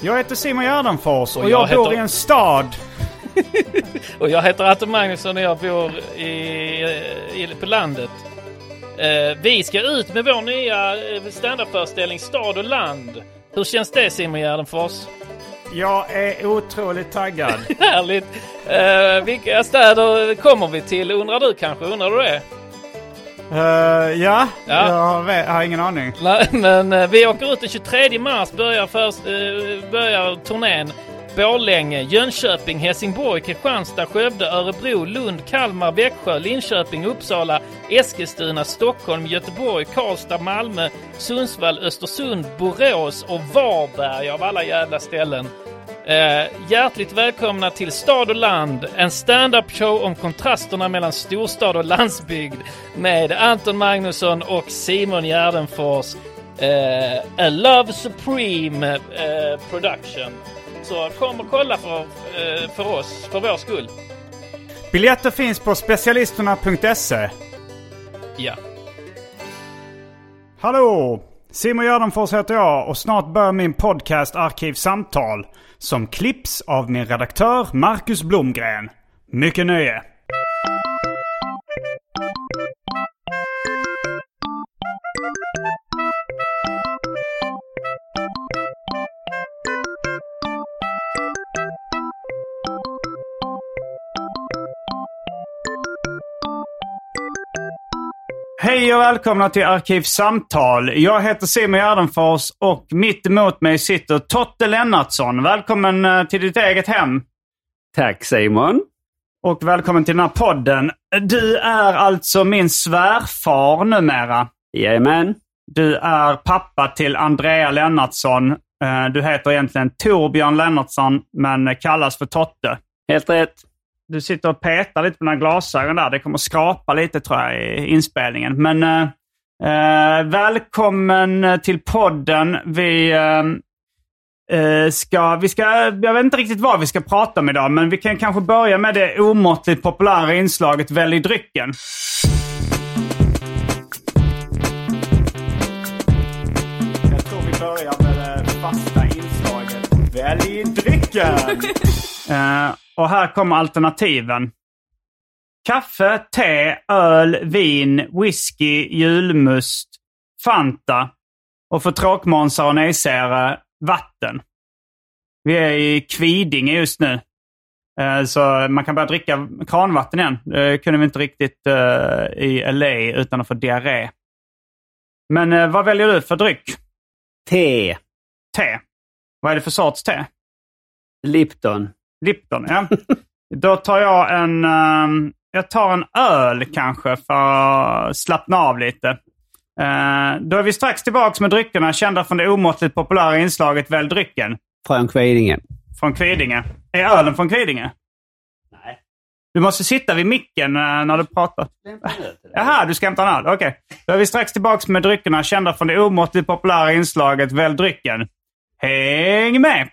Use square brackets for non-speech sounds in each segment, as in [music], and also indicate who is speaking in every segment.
Speaker 1: Jag heter Simon Gärdenfors och,
Speaker 2: Och
Speaker 1: jag,
Speaker 2: jag
Speaker 1: bor
Speaker 2: heter-
Speaker 1: i en stad.
Speaker 2: Och jag heter Atte Magnusson och jag bor i, i, på landet. Eh, vi ska ut med vår nya eh, standardföreställning Stad och land. Hur känns det Simon Gärdenfors? [laughs]
Speaker 1: Jag är otroligt [laughs] taggad.
Speaker 2: Härligt! Eh, vilka städer kommer vi till undrar du kanske? Undrar du det?
Speaker 1: Eh, ja,
Speaker 2: Ja.
Speaker 1: Jag, vet, jag har ingen aning.
Speaker 2: Nej, men eh, vi åker ut den 23 mars, börjar, först, eh, börjar turnén Borlänge, Jönköping, Helsingborg, Kristianstad, Skövde, Örebro, Lund, Kalmar, Växjö, Linköping, Uppsala, Eskilstuna, Stockholm, Göteborg, Karlstad, Malmö, Sundsvall, Östersund, Borås och Varberg av alla jävla ställen. Eh, hjärtligt välkomna till Stad och land, en stand-up show om kontrasterna mellan storstad och landsbygd med Anton Magnusson och Simon Gärdenfors. Eh, A Love Supreme eh, Production. Så kom och kolla för, eh, för oss, för vår skull.
Speaker 1: Biljetter finns på specialisterna.se.
Speaker 2: Ja.
Speaker 1: Hallå! Simon Gärdenfors heter jag och snart börjar min podcast Arkivsamtal. Som klipps av min redaktör Marcus Blomgren. Mycket nöje! Hej och välkomna till Arkivsamtal. Jag heter Simon Gärdenfors och mitt emot mig sitter Totte Lennartsson. Välkommen eh, till ditt eget hem.
Speaker 3: Tack Simon.
Speaker 1: Och välkommen till den här podden. Du är alltså min svärfar numera.
Speaker 3: Jajamän.
Speaker 1: Du är pappa till Andrea Lennartsson. Eh, Du heter egentligen Torbjörn Lennartsson, men kallas för Totte.
Speaker 3: Helt rätt.
Speaker 1: Du sitter och petar lite på dina glasögon där. Det kommer skrapa lite tror jag i inspelningen. Men eh, eh, välkommen till podden. Vi, eh, eh, ska, vi ska, jag vet inte riktigt vad vi ska prata om idag, men vi kan kanske börja med det omåttligt populära inslaget Välj drycken. Jag tror vi börjar med det fasta inslaget. Välj drycken! Eh, och här kommer alternativen. Kaffe, te, öl, vin, whisky, julmust, Fanta och för tråkmånsar och nejsägare, vatten. Vi är i Kvidinge just nu. Eh, Så man kan börja dricka kranvatten igen. Det kunde vi inte riktigt eh, i LA utan att få diarré. Men eh, vad väljer du för dryck?
Speaker 3: Te.
Speaker 1: Te. Vad är det för sorts te?
Speaker 3: Lipton.
Speaker 1: Lipton, ja. Då tar jag en, ehm, jag tar en öl kanske för att slappna av lite. Eh, då är vi strax tillbaka med dryckerna kända från det omåttligt populära inslaget Välj drycken
Speaker 3: Från Kvidinge.
Speaker 1: från Kvidinge. Är ölen från Kvidinge? Nej. Du måste sitta vid micken eh, när du pratar. Jaha, du ska hämta en öl. Okej. Då är vi strax tillbaka med dryckerna kända från det omåttligt populära inslaget Välj drycken. Häng med!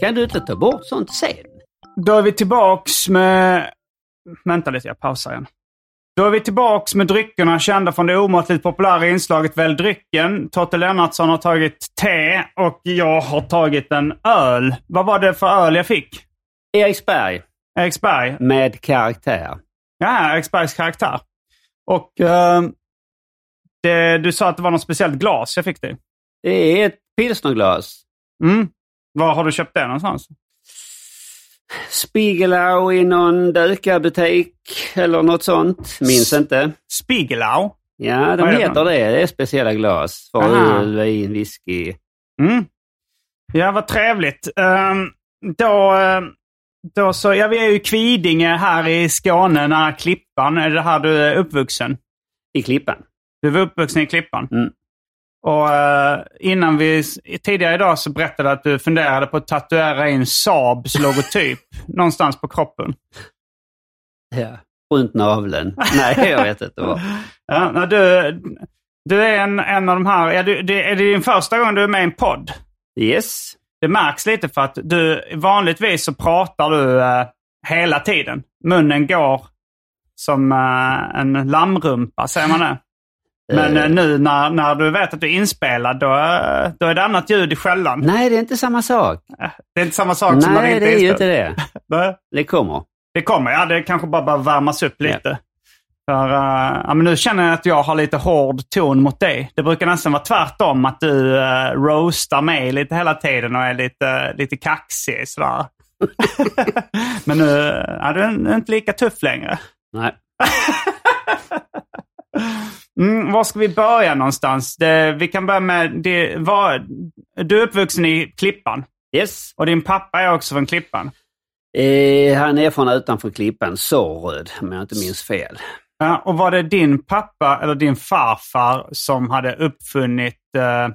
Speaker 3: Kan du inte ta bort sånt sen?
Speaker 1: Då är vi tillbaks med... Vänta lite, jag pausar igen. Då är vi tillbaks med dryckerna kända från det omåttligt populära inslaget Välj drycken. Totte Lennartsson har tagit te och jag har tagit en öl. Vad var det för öl jag fick?
Speaker 3: Eriksberg
Speaker 1: Eriksberg?
Speaker 3: med karaktär.
Speaker 1: Ja, Eriksbergs karaktär. Och eh, det, du sa att det var något speciellt glas jag fick det i.
Speaker 3: Det är ett pilsnerglas.
Speaker 1: mm. Var har du köpt det någonstans?
Speaker 3: Spiegelau i någon dökarbutik eller något sånt. Minns inte.
Speaker 1: Spiegelau?
Speaker 3: Ja, de
Speaker 1: Vad är det
Speaker 3: heter
Speaker 1: för
Speaker 3: det. Det är speciella glas för
Speaker 1: Aha.
Speaker 3: öl, vin, whisky.
Speaker 1: Mm. Ja, vad trevligt. Ehm, då, ehm, då så, ja, vi är ju i Kvidinge här i Skåne, nära Klippan. Är det här du är uppvuxen?
Speaker 3: I Klippan.
Speaker 1: Du var uppvuxen i Klippan.
Speaker 3: Mm.
Speaker 1: Och eh, innan vi, tidigare idag så berättade du att du funderade på att tatuera in Saabs logotyp någonstans på kroppen.
Speaker 3: Ja.
Speaker 1: [laughs]
Speaker 3: Runt naveln. Nej, jag vet inte vad.
Speaker 1: Ja, när du, du är en, en av de här, ja, du, det, är det din första gång du är med i en podd?
Speaker 3: Yes.
Speaker 1: Det märks lite för att du vanligtvis så pratar du eh, hela tiden. Munnen går som eh, en lammrumpa, säger man det? Men eh, nu när, när du vet att du är inspelad, då, eh, då är det annat ljud i skällan.
Speaker 3: Nej, det är inte samma sak.
Speaker 1: Det är inte samma sak som när det
Speaker 3: Nej,
Speaker 1: inte
Speaker 3: det är ju
Speaker 1: inspelad.
Speaker 3: inte det.
Speaker 1: Nej.
Speaker 3: Det kommer.
Speaker 1: Det kommer, ja. Det kanske bara behöver värmas upp
Speaker 3: Ja.
Speaker 1: lite. För, eh, ja, men nu känner jag att jag har lite hård ton mot dig. Det brukar nästan vara tvärtom, att du eh, roastar mig lite hela tiden och är lite, lite kaxig sådär. [laughs] men nu ja, du är du inte lika tuff längre.
Speaker 3: Nej.
Speaker 1: Mm, var ska vi börja någonstans? Det, vi kan börja med... Det, var, du är uppvuxen i Klippan
Speaker 3: Yes.
Speaker 1: och din pappa är också från Klippan.
Speaker 3: Eh, han är från utanför Klippan, Soröd, om jag inte minns fel.
Speaker 1: Ja, och var det din pappa eller din farfar som hade uppfunnit eh,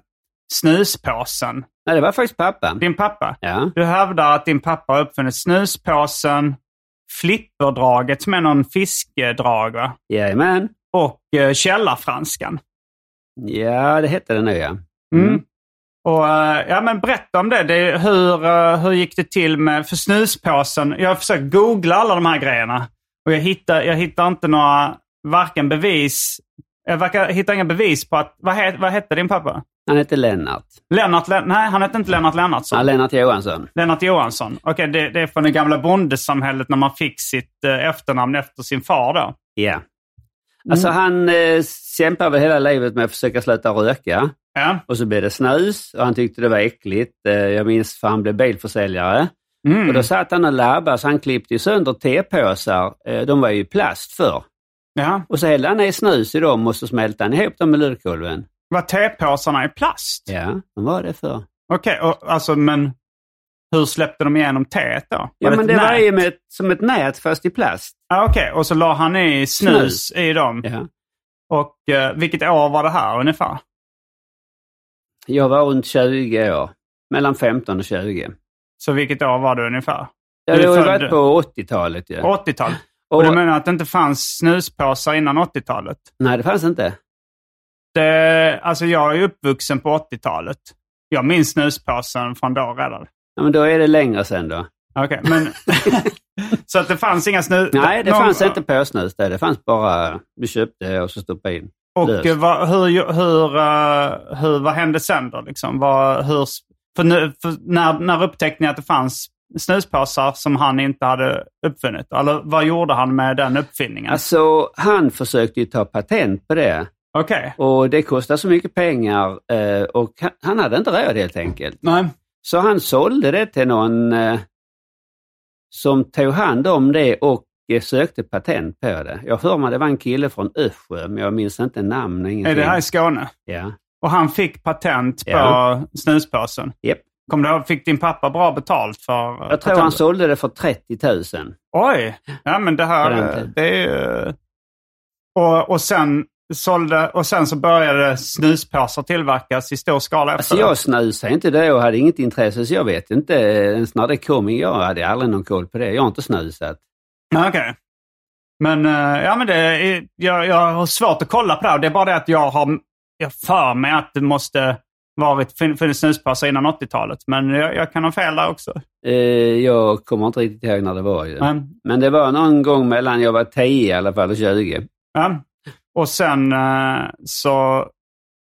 Speaker 1: snuspåsen?
Speaker 3: Nej, det var faktiskt pappa.
Speaker 1: Din pappa?
Speaker 3: Ja.
Speaker 1: Du hävdar att din pappa har uppfunnit snuspåsen, flipperdraget som är någon fiskedrag va?
Speaker 3: Jajamän.
Speaker 1: och eh, källarfranskan.
Speaker 3: Ja, det hette det nu ja.
Speaker 1: Mm. Och, eh, ja, men berätta om det. det är hur, eh, hur gick det till med för snuspåsen? Jag har försökt googla alla de här grejerna och jag hittar, jag hittar inte några, varken bevis. Jag verkar hitta inga bevis på att, vad, he, vad hette din pappa?
Speaker 3: Han hette Lennart.
Speaker 1: Lennart, Len- nej han hette inte Lennart Lennartsson.
Speaker 3: Ja, Lennart Johansson.
Speaker 1: Lennart Johansson. Okej, det, det är från det gamla bondesamhället när man fick sitt eh, efternamn efter sin far då.
Speaker 3: Ja. Alltså han eh, kämpade hela livet med att försöka sluta röka.
Speaker 1: Ja.
Speaker 3: Och så blev det snus och han tyckte det var äckligt. Eh, jag minns för han blev bilförsäljare.
Speaker 1: Mm.
Speaker 3: Och då satt han och labbade så han klippte ju sönder tepåsar. Eh, de var ju i plast förr.
Speaker 1: ja.
Speaker 3: Och så hällde han i snus i dem och så smälte han ihop dem med lurkolven.
Speaker 1: Var tepåsarna i plast?
Speaker 3: Ja, de var det förr.
Speaker 1: Okej, och alltså men hur släppte de igenom teet då? Var
Speaker 3: Ja, men
Speaker 1: ett
Speaker 3: det var
Speaker 1: nät?
Speaker 3: ju med, ett- som ett nät fast i plast.
Speaker 1: Ja, Okej, och så la han i snus,
Speaker 3: Snus.
Speaker 1: i dem.
Speaker 3: Ja.
Speaker 1: Och eh, vilket år var det här ungefär?
Speaker 3: Jag var runt 20 år. Mellan 15 och 20.
Speaker 1: Så vilket år var det ungefär?
Speaker 3: Jag
Speaker 1: Du
Speaker 3: har
Speaker 1: är
Speaker 3: ju
Speaker 1: född-
Speaker 3: varit på 80-talet ju.
Speaker 1: 80-tal? Och,
Speaker 3: Och-
Speaker 1: du menar att det inte fanns snuspåsar innan 80-talet?
Speaker 3: Nej, det fanns inte.
Speaker 1: Det, alltså jag är ju uppvuxen på 80-talet. Jag minns snuspåsen från då redan.
Speaker 3: Ja, men då är det längre sen då.
Speaker 1: Okej,
Speaker 3: [laughs]
Speaker 1: men... så att det fanns inga snus...
Speaker 3: Nej, det
Speaker 1: någon-
Speaker 3: fanns inte påsnus där. Det fanns bara, du köpte och så stoppade in.
Speaker 1: Och
Speaker 3: löst.
Speaker 1: eh, vad, hur, hur, eh, hur, vad hände sen då? Liksom? Vad, hur, för nu, för när, när upptäckte ni att det fanns snuspåsar som han inte hade uppfunnit? Eller vad gjorde han med den uppfinningen?
Speaker 3: Alltså, han försökte ju ta patent på det.
Speaker 1: Okej.
Speaker 3: Och det kostade så mycket pengar eh, och han- han hade inte råd helt enkelt.
Speaker 1: Nej.
Speaker 3: Så han sålde det till någon eh, som tog hand om det och eh, sökte patent på det. Jag hör mig det var en kille från Össjö, men jag minns inte namn och
Speaker 1: Är
Speaker 3: ingenting.
Speaker 1: det här i Skåne?
Speaker 3: Ja.
Speaker 1: Och han fick patent på
Speaker 3: Ja.
Speaker 1: snuspåsen?
Speaker 3: Japp.
Speaker 1: Kom du ihåg, fick din pappa bra betalt för eh,
Speaker 3: Jag tror han
Speaker 1: patentet?
Speaker 3: sålde det för 30 000.
Speaker 1: Oj! Ja, men det
Speaker 3: På den
Speaker 1: här eh,
Speaker 3: tiden.
Speaker 1: det är ju... Och, och, sen sålde, och sen så började snuspåsar tillverkas i stor skala efter
Speaker 3: Alltså
Speaker 1: det.
Speaker 3: jag snusade inte då och hade inget intresse, så jag vet inte eh, ens när det kom. Jag hade aldrig någon koll på det. Jag har inte snusat.
Speaker 1: Ja, Okej. Men, eh, ja, men det är, jag, jag har svårt att kolla på det. här. Det är bara det att jag har jag för mig att det måste varit fin- funnits snuspassar innan 80-talet. Men jag, jag kan ha fel där också.
Speaker 3: Eh, jag kommer inte riktigt ihåg när det var ju.
Speaker 1: Men,
Speaker 3: Men det var någon gång mellan jag var 10 i alla fall och 20.
Speaker 1: Ja. Och sen eh, så...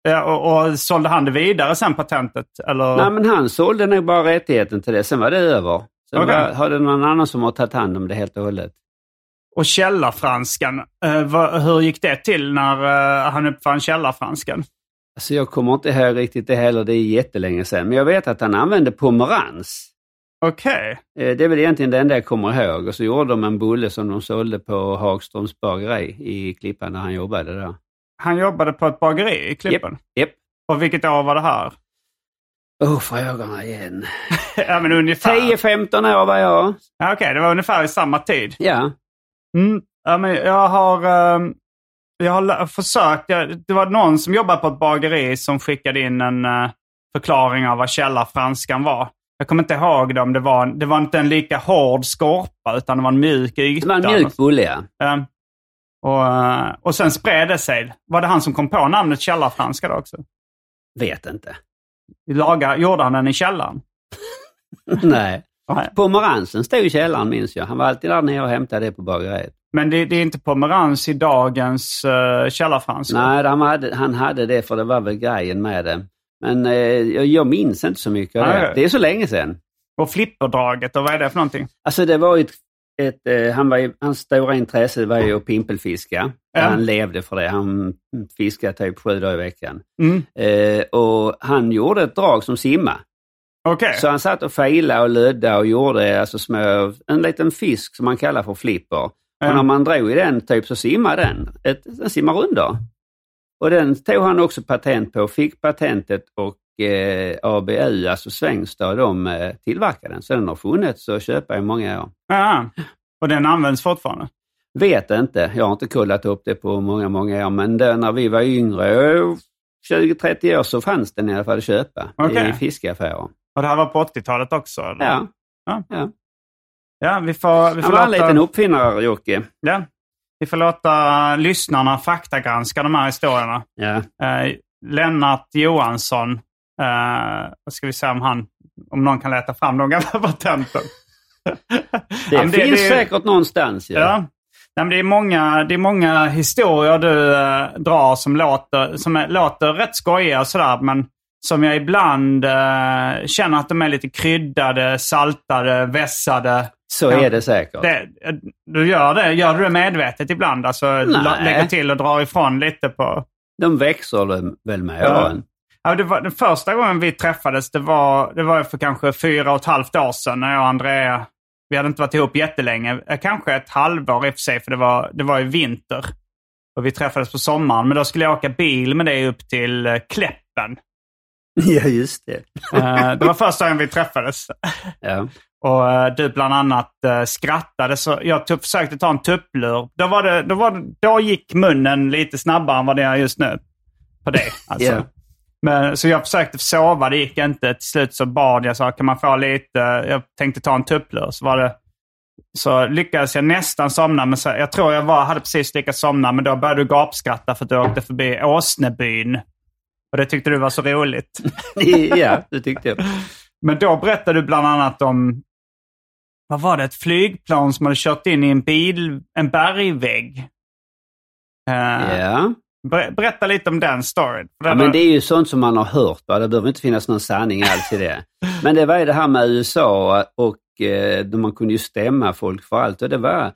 Speaker 1: Ja, och, och sålde han det vidare sen, patentet? Eller?
Speaker 3: Nej, men han sålde nog bara rättigheten till det. Sen var det över. Sen
Speaker 1: Okej.
Speaker 3: var, har det någon annan som har tagit hand om det helt och hållet.
Speaker 1: Och källarfranskan, eh, vad- hur gick det till när eh, han uppfann källarfranskan?
Speaker 3: Alltså jag kommer inte ihåg riktigt det heller, det är jättelänge sedan. Men jag vet att han använde pomerans.
Speaker 1: Okej.
Speaker 3: Eh, Det är väl egentligen det enda jag kommer ihåg. Och så gjorde de en bulle som de sålde på Hagströms bageri i Klippan där han jobbade där.
Speaker 1: Han jobbade på ett bageri i Klippen.
Speaker 3: Japp.
Speaker 1: Och vilket år var det här? [laughs]
Speaker 3: Oh, frågorna igen.
Speaker 1: ja, men ungefär.
Speaker 3: 10-15 år var jag.
Speaker 1: Ja, Okej, det var ungefär i samma tid.
Speaker 3: Ja.
Speaker 1: Mm. Ja, men jag har, ehm, jag har lä- försökt. Jag, det var någon som jobbade på ett bageri som skickade in en eh, förklaring av vad källarfranskan var. Jag kommer inte ihåg det om det var, en- det var inte en lika hård skorpa utan det var en mjuk yta.
Speaker 3: Det var en mjuk bulle, ja.
Speaker 1: Ehm, och, eh, och sen spred det sig. Var det han som kom på namnet källarfranska då också?
Speaker 3: Vet inte. [laughs]
Speaker 1: Laga, gjorde han den i källaren?
Speaker 3: Nej.
Speaker 1: Nej.
Speaker 3: Pomeransen stod i källaren minns jag. Han var alltid där nere och hämtade det på bageriet.
Speaker 1: Men det, det är inte pomerans i dagens uh, källarfranska?
Speaker 3: Nej, han hade, han hade det för det var väl grejen med det. Men eh, jag, jag minns inte så mycket av
Speaker 1: Nej.
Speaker 3: det. Det är så länge sedan.
Speaker 1: Och flipperdraget, och vad är det för någonting?
Speaker 3: Alltså det var ju ett, ett, eh, han var ju, hans stora intresse var ju att pimpelfiska.
Speaker 1: Ja.
Speaker 3: Han levde för det. Han fiskade typ sju dagar i veckan.
Speaker 1: Mm.
Speaker 3: Eh, och han gjorde ett drag som simma.
Speaker 1: Okej.
Speaker 3: Så han satt och failade och lödde och gjorde alltså små, en liten fisk som man kallar för flipper.
Speaker 1: Ja.
Speaker 3: Och när man drog i den typ så simmade den. Ett, den simmar under. Och den tog han också patent på, fick patentet och eh, ABU, alltså Svängsta, de eh, tillverkade den. Så den har funnits att köpa i många år.
Speaker 1: Ja. Och den används fortfarande?
Speaker 3: Vet inte, jag har inte kollat upp det på många, många år, men det, när vi var yngre, 20-30 år, så fanns den i alla fall att köpa
Speaker 1: Okej.
Speaker 3: i fiskaffärer.
Speaker 1: Och det här var på 80-talet också? Eller?
Speaker 3: Ja,
Speaker 1: ja. Vi får, vi får
Speaker 3: han var en
Speaker 1: låta...
Speaker 3: liten uppfinnare, Jocke.
Speaker 1: Ja. Vi får låta lyssnarna faktagranska de här historierna.
Speaker 3: Ja.
Speaker 1: Eh, Lennart Johansson, eh, vad ska vi säga om han, om någon kan leta fram de gamla [laughs] patenten.
Speaker 3: Det
Speaker 1: Ja, men
Speaker 3: finns säkert någonstans. Ja.
Speaker 1: Ja. Nej, men det, är många, det är många historier du eh, drar som låter, som är, låter rätt skojiga och sådär, men som jag ibland eh, känner att de är lite kryddade, saltade, vässade.
Speaker 3: Så
Speaker 1: Ja.
Speaker 3: är det säkert.
Speaker 1: Det, eh, du gör det, gör du det medvetet ibland? Alltså la- lägger till och drar ifrån lite på...
Speaker 3: De växer väl- väl med
Speaker 1: Ja.
Speaker 3: åren.
Speaker 1: Ja, det var, den första gången vi träffades, det var, det var för kanske fyra och ett halvt år sedan när jag och Andrea, vi hade inte varit ihop jättelänge, Eh, kanske ett halvår i och för sig, för det var, det var ju vinter. Och vi träffades på sommaren, men då skulle jag åka bil med dig upp till eh, Kläppen.
Speaker 3: [laughs] Ja, just det.
Speaker 1: Eh, Det var första gången vi träffades.
Speaker 3: Ja.
Speaker 1: Och eh, du bland annat eh, skrattade, så jag tog, försökte ta en tupplur. Då, var det, då, var det, då gick munnen lite snabbare än vad den gör just nu. På dig alltså.
Speaker 3: Ja.
Speaker 1: Men, så jag försökte sova, det gick inte. Till slut så bad jag, så, kan man få lite? Jag tänkte ta en tupplur. Så, var det, så lyckades jag nästan somna, men så, jag tror jag var, hade precis lyckats somna. Men då började du gapskratta för att du åkte förbi Åsnebyn. Och det tyckte du var så
Speaker 3: [laughs]
Speaker 1: roligt.
Speaker 3: [laughs] ja, det tyckte jag.
Speaker 1: Men då berättade du bland annat om, vad var det, ett flygplan som hade kört in i en bil, en bergvägg. Eh,
Speaker 3: Ja.
Speaker 1: ber- berätta lite om den storyn.
Speaker 3: Ja, men det är ju sånt som man har hört. Va? Det behöver inte finnas någon sanning alls i [laughs] det. Men det var ju det här med USA och eh, då man kunde ju stämma folk för allt. Och det var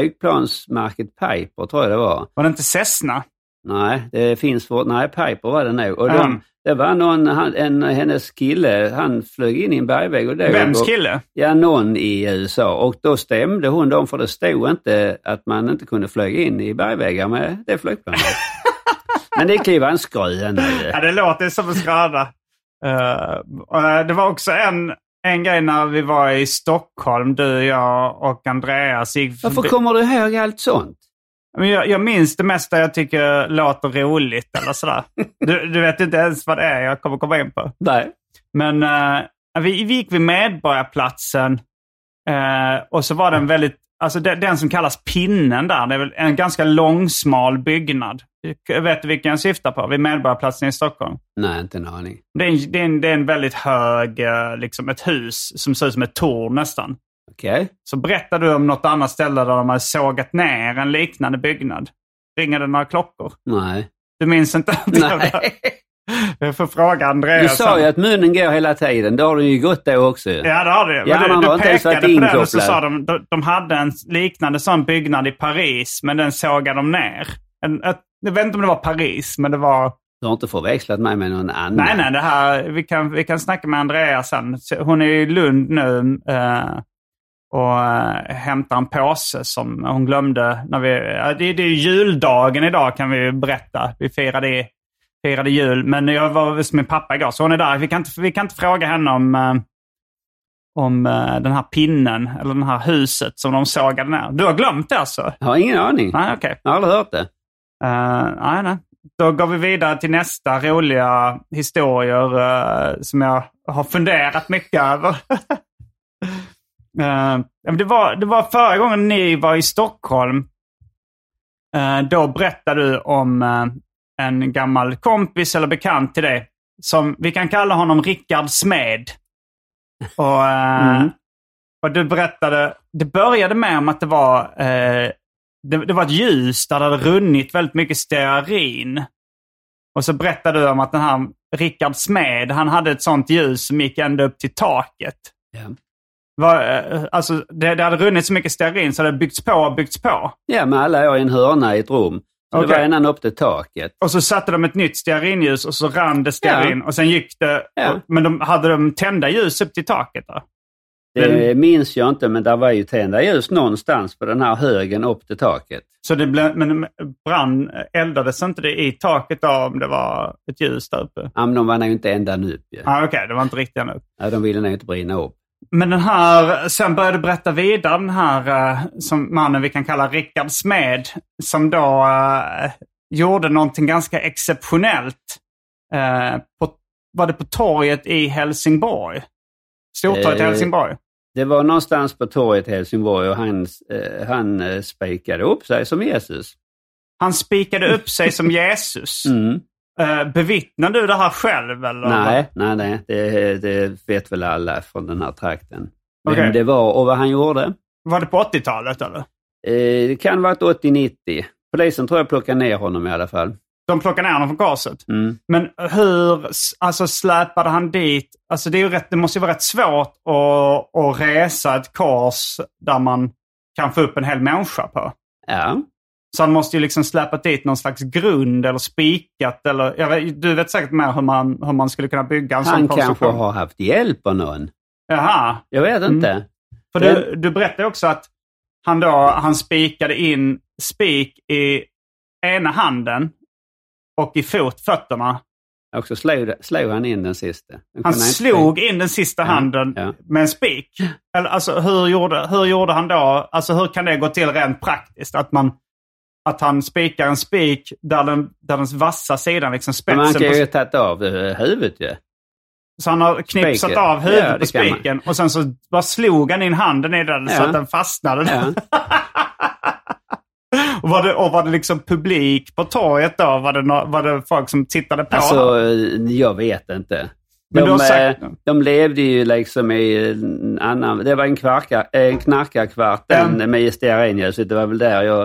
Speaker 3: flygplansmärket Piper, tror jag det var.
Speaker 1: Var det inte Cessna?
Speaker 3: Nej, det finns för, nej, Piper var det nog. Och de,
Speaker 1: Mm.
Speaker 3: Det var någon, han, en, hennes kille, han flög in i en bergvägg och dog.
Speaker 1: Vems
Speaker 3: Och-
Speaker 1: kille?
Speaker 3: Ja, någon i USA. Och då stämde hon dem för det stod inte att man inte kunde flyga in i bergväggar med det flygplanet.
Speaker 1: [laughs]
Speaker 3: Men det kan ju vara en skröna. ju.
Speaker 1: Ja, det låter som en skröna. Eh, och, eh, det var också en, en grej när vi var i Stockholm, du, jag och Andreas. Gick
Speaker 3: Varför
Speaker 1: förbi-
Speaker 3: kommer du ihåg allt sånt?
Speaker 1: Men jag, jag minns det mesta jag tycker låter roligt eller sådär. Du, du vet inte ens vad det är jag kommer komma in på.
Speaker 3: Nej.
Speaker 1: Men eh, vi, vi gick vid Medborgarplatsen eh, och så var den väldigt, alltså den, den som kallas Pinnen där, det är väl en ganska långsmal byggnad. Jag vet du vilken jag syftar på? Vid Medborgarplatsen i Stockholm.
Speaker 3: Nej, inte en aning.
Speaker 1: Det är en, det är en, det är en väldigt hög, eh, liksom ett hus som ser ut som ett torn nästan.
Speaker 3: Okej.
Speaker 1: Så berättade du om något annat ställe där de hade sågat ner en liknande byggnad. Ringer det några klockor?
Speaker 3: Nej.
Speaker 1: Du minns inte? att jag-
Speaker 3: Nej.
Speaker 1: Jag får fråga Andreas.
Speaker 3: Du sa ju
Speaker 1: sen.
Speaker 3: att munnen går hela tiden. Det har den ju gått då också. ju.
Speaker 1: Ja, det har du.
Speaker 3: Ja,
Speaker 1: Men
Speaker 3: man
Speaker 1: du,
Speaker 3: har
Speaker 1: du
Speaker 3: inte ens
Speaker 1: pekade
Speaker 3: varit
Speaker 1: på den och så
Speaker 3: inkopplad.
Speaker 1: sa de, de, de hade en liknande sån byggnad i Paris, men den sågade de ner. En, ett, jag vet inte om det var Paris, men det var...
Speaker 3: Du har inte förväxlat mig med någon annan.
Speaker 1: Nej, nej, det här, vi, kan, vi kan snacka med Andrea sen. Hon är i Lund nu eh, och eh, hämtar en påse som hon glömde. När vi, ja, det, det är ju juldagen idag kan vi ju berätta. Vi firade, firade jul, men jag var hos min pappa igår så hon är där. Vi kan inte, vi kan inte fråga henne om, eh, om eh, den här pinnen eller det här huset som de sågade ner. Du har glömt det alltså?
Speaker 3: Jag har ingen aning.
Speaker 1: Nej, okej.
Speaker 3: Jag har aldrig hört det.
Speaker 1: Eh, nej, nej. Då går vi vidare till nästa roliga historier eh, som jag har funderat mycket över. [laughs] Eh, men det, var, det var förra gången ni var i Stockholm. Eh, då berättade du om eh, en gammal kompis eller bekant till dig. Som, vi kan kalla honom Rickard Smed. Och, eh,
Speaker 3: Mm.
Speaker 1: och du berättade, det började med om att det var, eh, det, det var ett ljus där det hade runnit väldigt mycket stearin. Och så berättade du om att den här Rickard Smed, han hade ett sånt ljus som gick ända upp till taket.
Speaker 3: Ja.
Speaker 1: Var, eh, alltså, det, det hade runnit så mycket stearin så det hade byggts på och byggts på.
Speaker 3: Ja, men alla är i en hörna i ett rum. Så det
Speaker 1: Okej.
Speaker 3: var ända upp till taket.
Speaker 1: Och så satte de ett nytt stearinljus och så rann det stearin. Och sen gick det.
Speaker 3: Ja.
Speaker 1: och- Men de, hade de tända ljus upp till taket? Då?
Speaker 3: Det minns jag inte, men där var ju tända ljus någonstans på den här högen upp till taket.
Speaker 1: Så det blev, men brann, eldades inte det i taket då om det var ett ljus där uppe?
Speaker 3: Ja, men de var nog inte ända upp ju.
Speaker 1: Ah, Okej, det var inte riktigt ännu.
Speaker 3: Ja, de ville nog inte brinna upp.
Speaker 1: Men den här, sen började du berätta vidare den här eh, som mannen vi kan kalla Rickard Smed. Som då eh, gjorde någonting ganska exceptionellt. Eh, på, var det på torget i Helsingborg? Stortorget i
Speaker 3: Eh,
Speaker 1: Helsingborg?
Speaker 3: Det var någonstans på torget i Helsingborg och han, eh, han eh, spikade upp sig som Jesus.
Speaker 1: Han spikade upp sig
Speaker 3: [laughs]
Speaker 1: som Jesus.
Speaker 3: Mm.
Speaker 1: Eh, bevittnade du det här själv? Eller?
Speaker 3: Nej, nej, nej. Det, det vet väl alla från den här trakten. Vem
Speaker 1: Okej.
Speaker 3: det var och vad han gjorde.
Speaker 1: Var det på 80-talet? eller?
Speaker 3: Eh, det kan vara 80-90. Polisen tror jag plockade ner honom i alla fall.
Speaker 1: De plockade ner honom från korset.
Speaker 3: Mm.
Speaker 1: Men hur s- alltså, släpade han dit? Alltså, det, är ju rätt, det måste ju vara rätt svårt att, att resa ett kors där man kan få upp en hel människa på.
Speaker 3: Ja,
Speaker 1: Så han måste ju liksom släpat dit någon slags grund eller spikat. Eller, jag vet, du vet säkert mer hur man, hur man skulle kunna bygga en sån
Speaker 3: han kanske
Speaker 1: konstruktion. Mm.
Speaker 3: har haft hjälp av någon.
Speaker 1: Jaha.
Speaker 3: Jag vet inte.
Speaker 1: För du, du berättade också att han, då, han spikade in spik i ena handen och i fot, fötterna.
Speaker 3: Och så slog, slog han in den sista. Den kunde
Speaker 1: Han
Speaker 3: inte-
Speaker 1: slog in den sista handen
Speaker 3: ja.
Speaker 1: med en spik. Eller, alltså, hur, gjorde, hur gjorde han då? Alltså, hur kan det gå till rent praktiskt? Att, man, att han spikar en spik där den, där den vassa sidan, liksom
Speaker 3: Men han
Speaker 1: spetsen,
Speaker 3: kan ju
Speaker 1: på,
Speaker 3: ha tagit av eh, huvudet ju.
Speaker 1: så han har knipsat
Speaker 3: Spiken.
Speaker 1: av huvudet
Speaker 3: Ja, det
Speaker 1: på
Speaker 3: kan man.
Speaker 1: spiken och sen så bara slog han in handen i den så
Speaker 3: Ja.
Speaker 1: att den fastnade.
Speaker 3: Ja.
Speaker 1: Och var, det, och var det liksom publik på torget då? Var det, nå- var det folk som tittade på? honom?
Speaker 3: [laughs] Alltså, eh, jag vet inte.
Speaker 1: Men du
Speaker 3: De,
Speaker 1: har sagt-
Speaker 3: eh, de levde ju liksom i en annan... Det var en, kvarka, en knarkarkvart
Speaker 1: Mm.
Speaker 3: mm. med stearinljuset. Det var väl där jag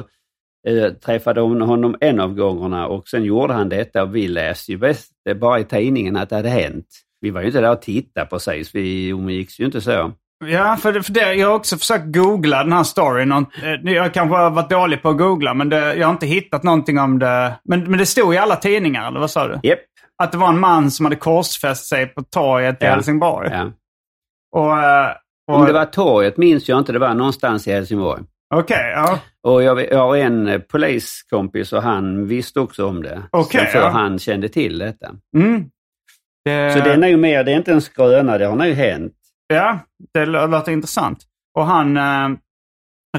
Speaker 3: eh, träffade hon- honom en av gångerna och sen gjorde han detta och vi läste ju bäst, det är bara i tidningen att det hade hänt. Vi var ju inte där och tittade precis, vi umgicks ju inte så.
Speaker 1: Ja, för, det, för det, jag har också försökt googla den här storyn. Och, eh, jag kanske har varit dålig på att googla, men det, jag har inte hittat någonting om det. Men, men det stod i alla tidningar, eller vad sa du?
Speaker 3: Japp.
Speaker 1: Att det var en man som hade korsfäst sig på torget i
Speaker 3: Ja.
Speaker 1: Helsingborg.
Speaker 3: Ja.
Speaker 1: Och, eh, och,
Speaker 3: Om det var torget minns jag inte, det var någonstans i Helsingborg.
Speaker 1: Okej, ja.
Speaker 3: Och jag, jag har en eh, poliskompis och han visste också om det.
Speaker 1: Okej,
Speaker 3: så för
Speaker 1: ja. Eh.
Speaker 3: han kände till detta.
Speaker 1: Mm. Det,
Speaker 3: Så det är nog mer, det är inte en skröna, det har nog hänt.
Speaker 1: Ja, det lå- låter intressant. Och han, eh,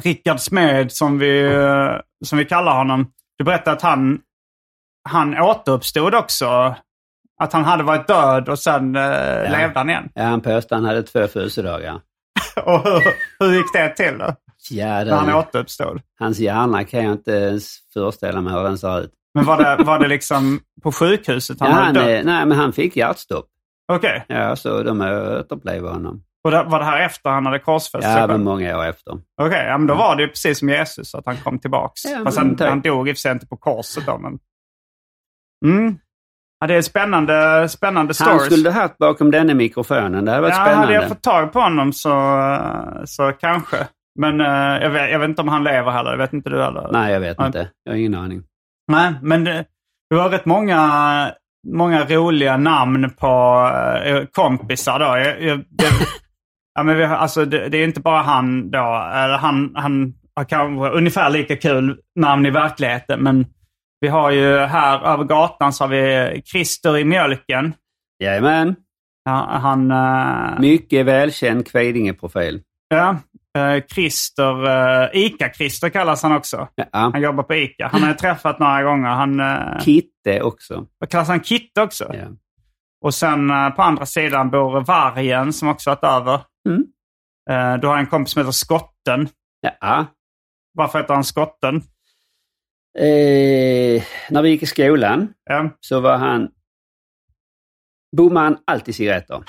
Speaker 1: Rickard Smed, som vi, eh, som vi kallar honom, du berättade att han, han återuppstod också. Att han hade varit död och sen eh, levde han igen. [laughs]
Speaker 3: Ja, han påstod han hade två födelsedagar.
Speaker 1: Och hur, hur gick det till då?
Speaker 3: Ja,
Speaker 1: När han
Speaker 3: det,
Speaker 1: återuppstod.
Speaker 3: hans hjärna kan jag inte ens föreställa mig hur den ser ut.
Speaker 1: Men var det, var det liksom på sjukhuset
Speaker 3: Ja,
Speaker 1: han hade
Speaker 3: han,
Speaker 1: dött?
Speaker 3: eh, nej, men han fick hjärtstopp.
Speaker 1: Okej.
Speaker 3: Ja, så de återupplevde honom.
Speaker 1: Och det, var det här efter han hade korsfäst sig
Speaker 3: Ja,
Speaker 1: själv?
Speaker 3: men många år efter.
Speaker 1: Okej, ja, men då var det ju precis som Jesus, att han kom tillbaks.
Speaker 3: Ja,
Speaker 1: Fast
Speaker 3: men
Speaker 1: han,
Speaker 3: Mm. tack.
Speaker 1: han dog i och för sig inte på korset då, men... Mm. Ja, det är spännande, spännande
Speaker 3: Han
Speaker 1: stories.
Speaker 3: skulle haft bakom denna mikrofonen. Det hade varit
Speaker 1: ja, hade jag
Speaker 3: spännande.
Speaker 1: fått tag på honom så, så kanske. Men eh, jag, vet, jag vet inte om han lever heller. Jag vet inte du heller.
Speaker 3: Nej, jag vet
Speaker 1: Nej.
Speaker 3: inte. Jag har ingen aning.
Speaker 1: Nej, men det, det var rätt många, många roliga namn på eh, kompisar då. Jag, jag, det, ja, men vi, har- alltså, det, det är inte bara han då. Eller han, han har kanske ungefär lika kul namn i verkligheten, men vi har ju här över gatan så har vi Christer i mjölken.
Speaker 3: Jajamän.
Speaker 1: Ja, han... eh,
Speaker 3: Mycket välkänd Kvidinge-profil.
Speaker 1: Ja, eh, Christer, eh, Ica-Christer kallas han också.
Speaker 3: Ja.
Speaker 1: Han jobbar på Ica. Han har jag träffat några gånger. Han, eh,
Speaker 3: Kitte också.
Speaker 1: vad kallas han Kitte också?
Speaker 3: Ja.
Speaker 1: Och sen eh, på andra sidan bor Vargen som också varit över.
Speaker 3: Mm.
Speaker 1: Eh, du har en kompis som heter Skotten.
Speaker 3: Ja.
Speaker 1: Varför heter han Skotten?
Speaker 3: Eh, när vi gick i skolan
Speaker 1: Ja.
Speaker 3: så var han... Bommade han alltid [laughs] cigaretter.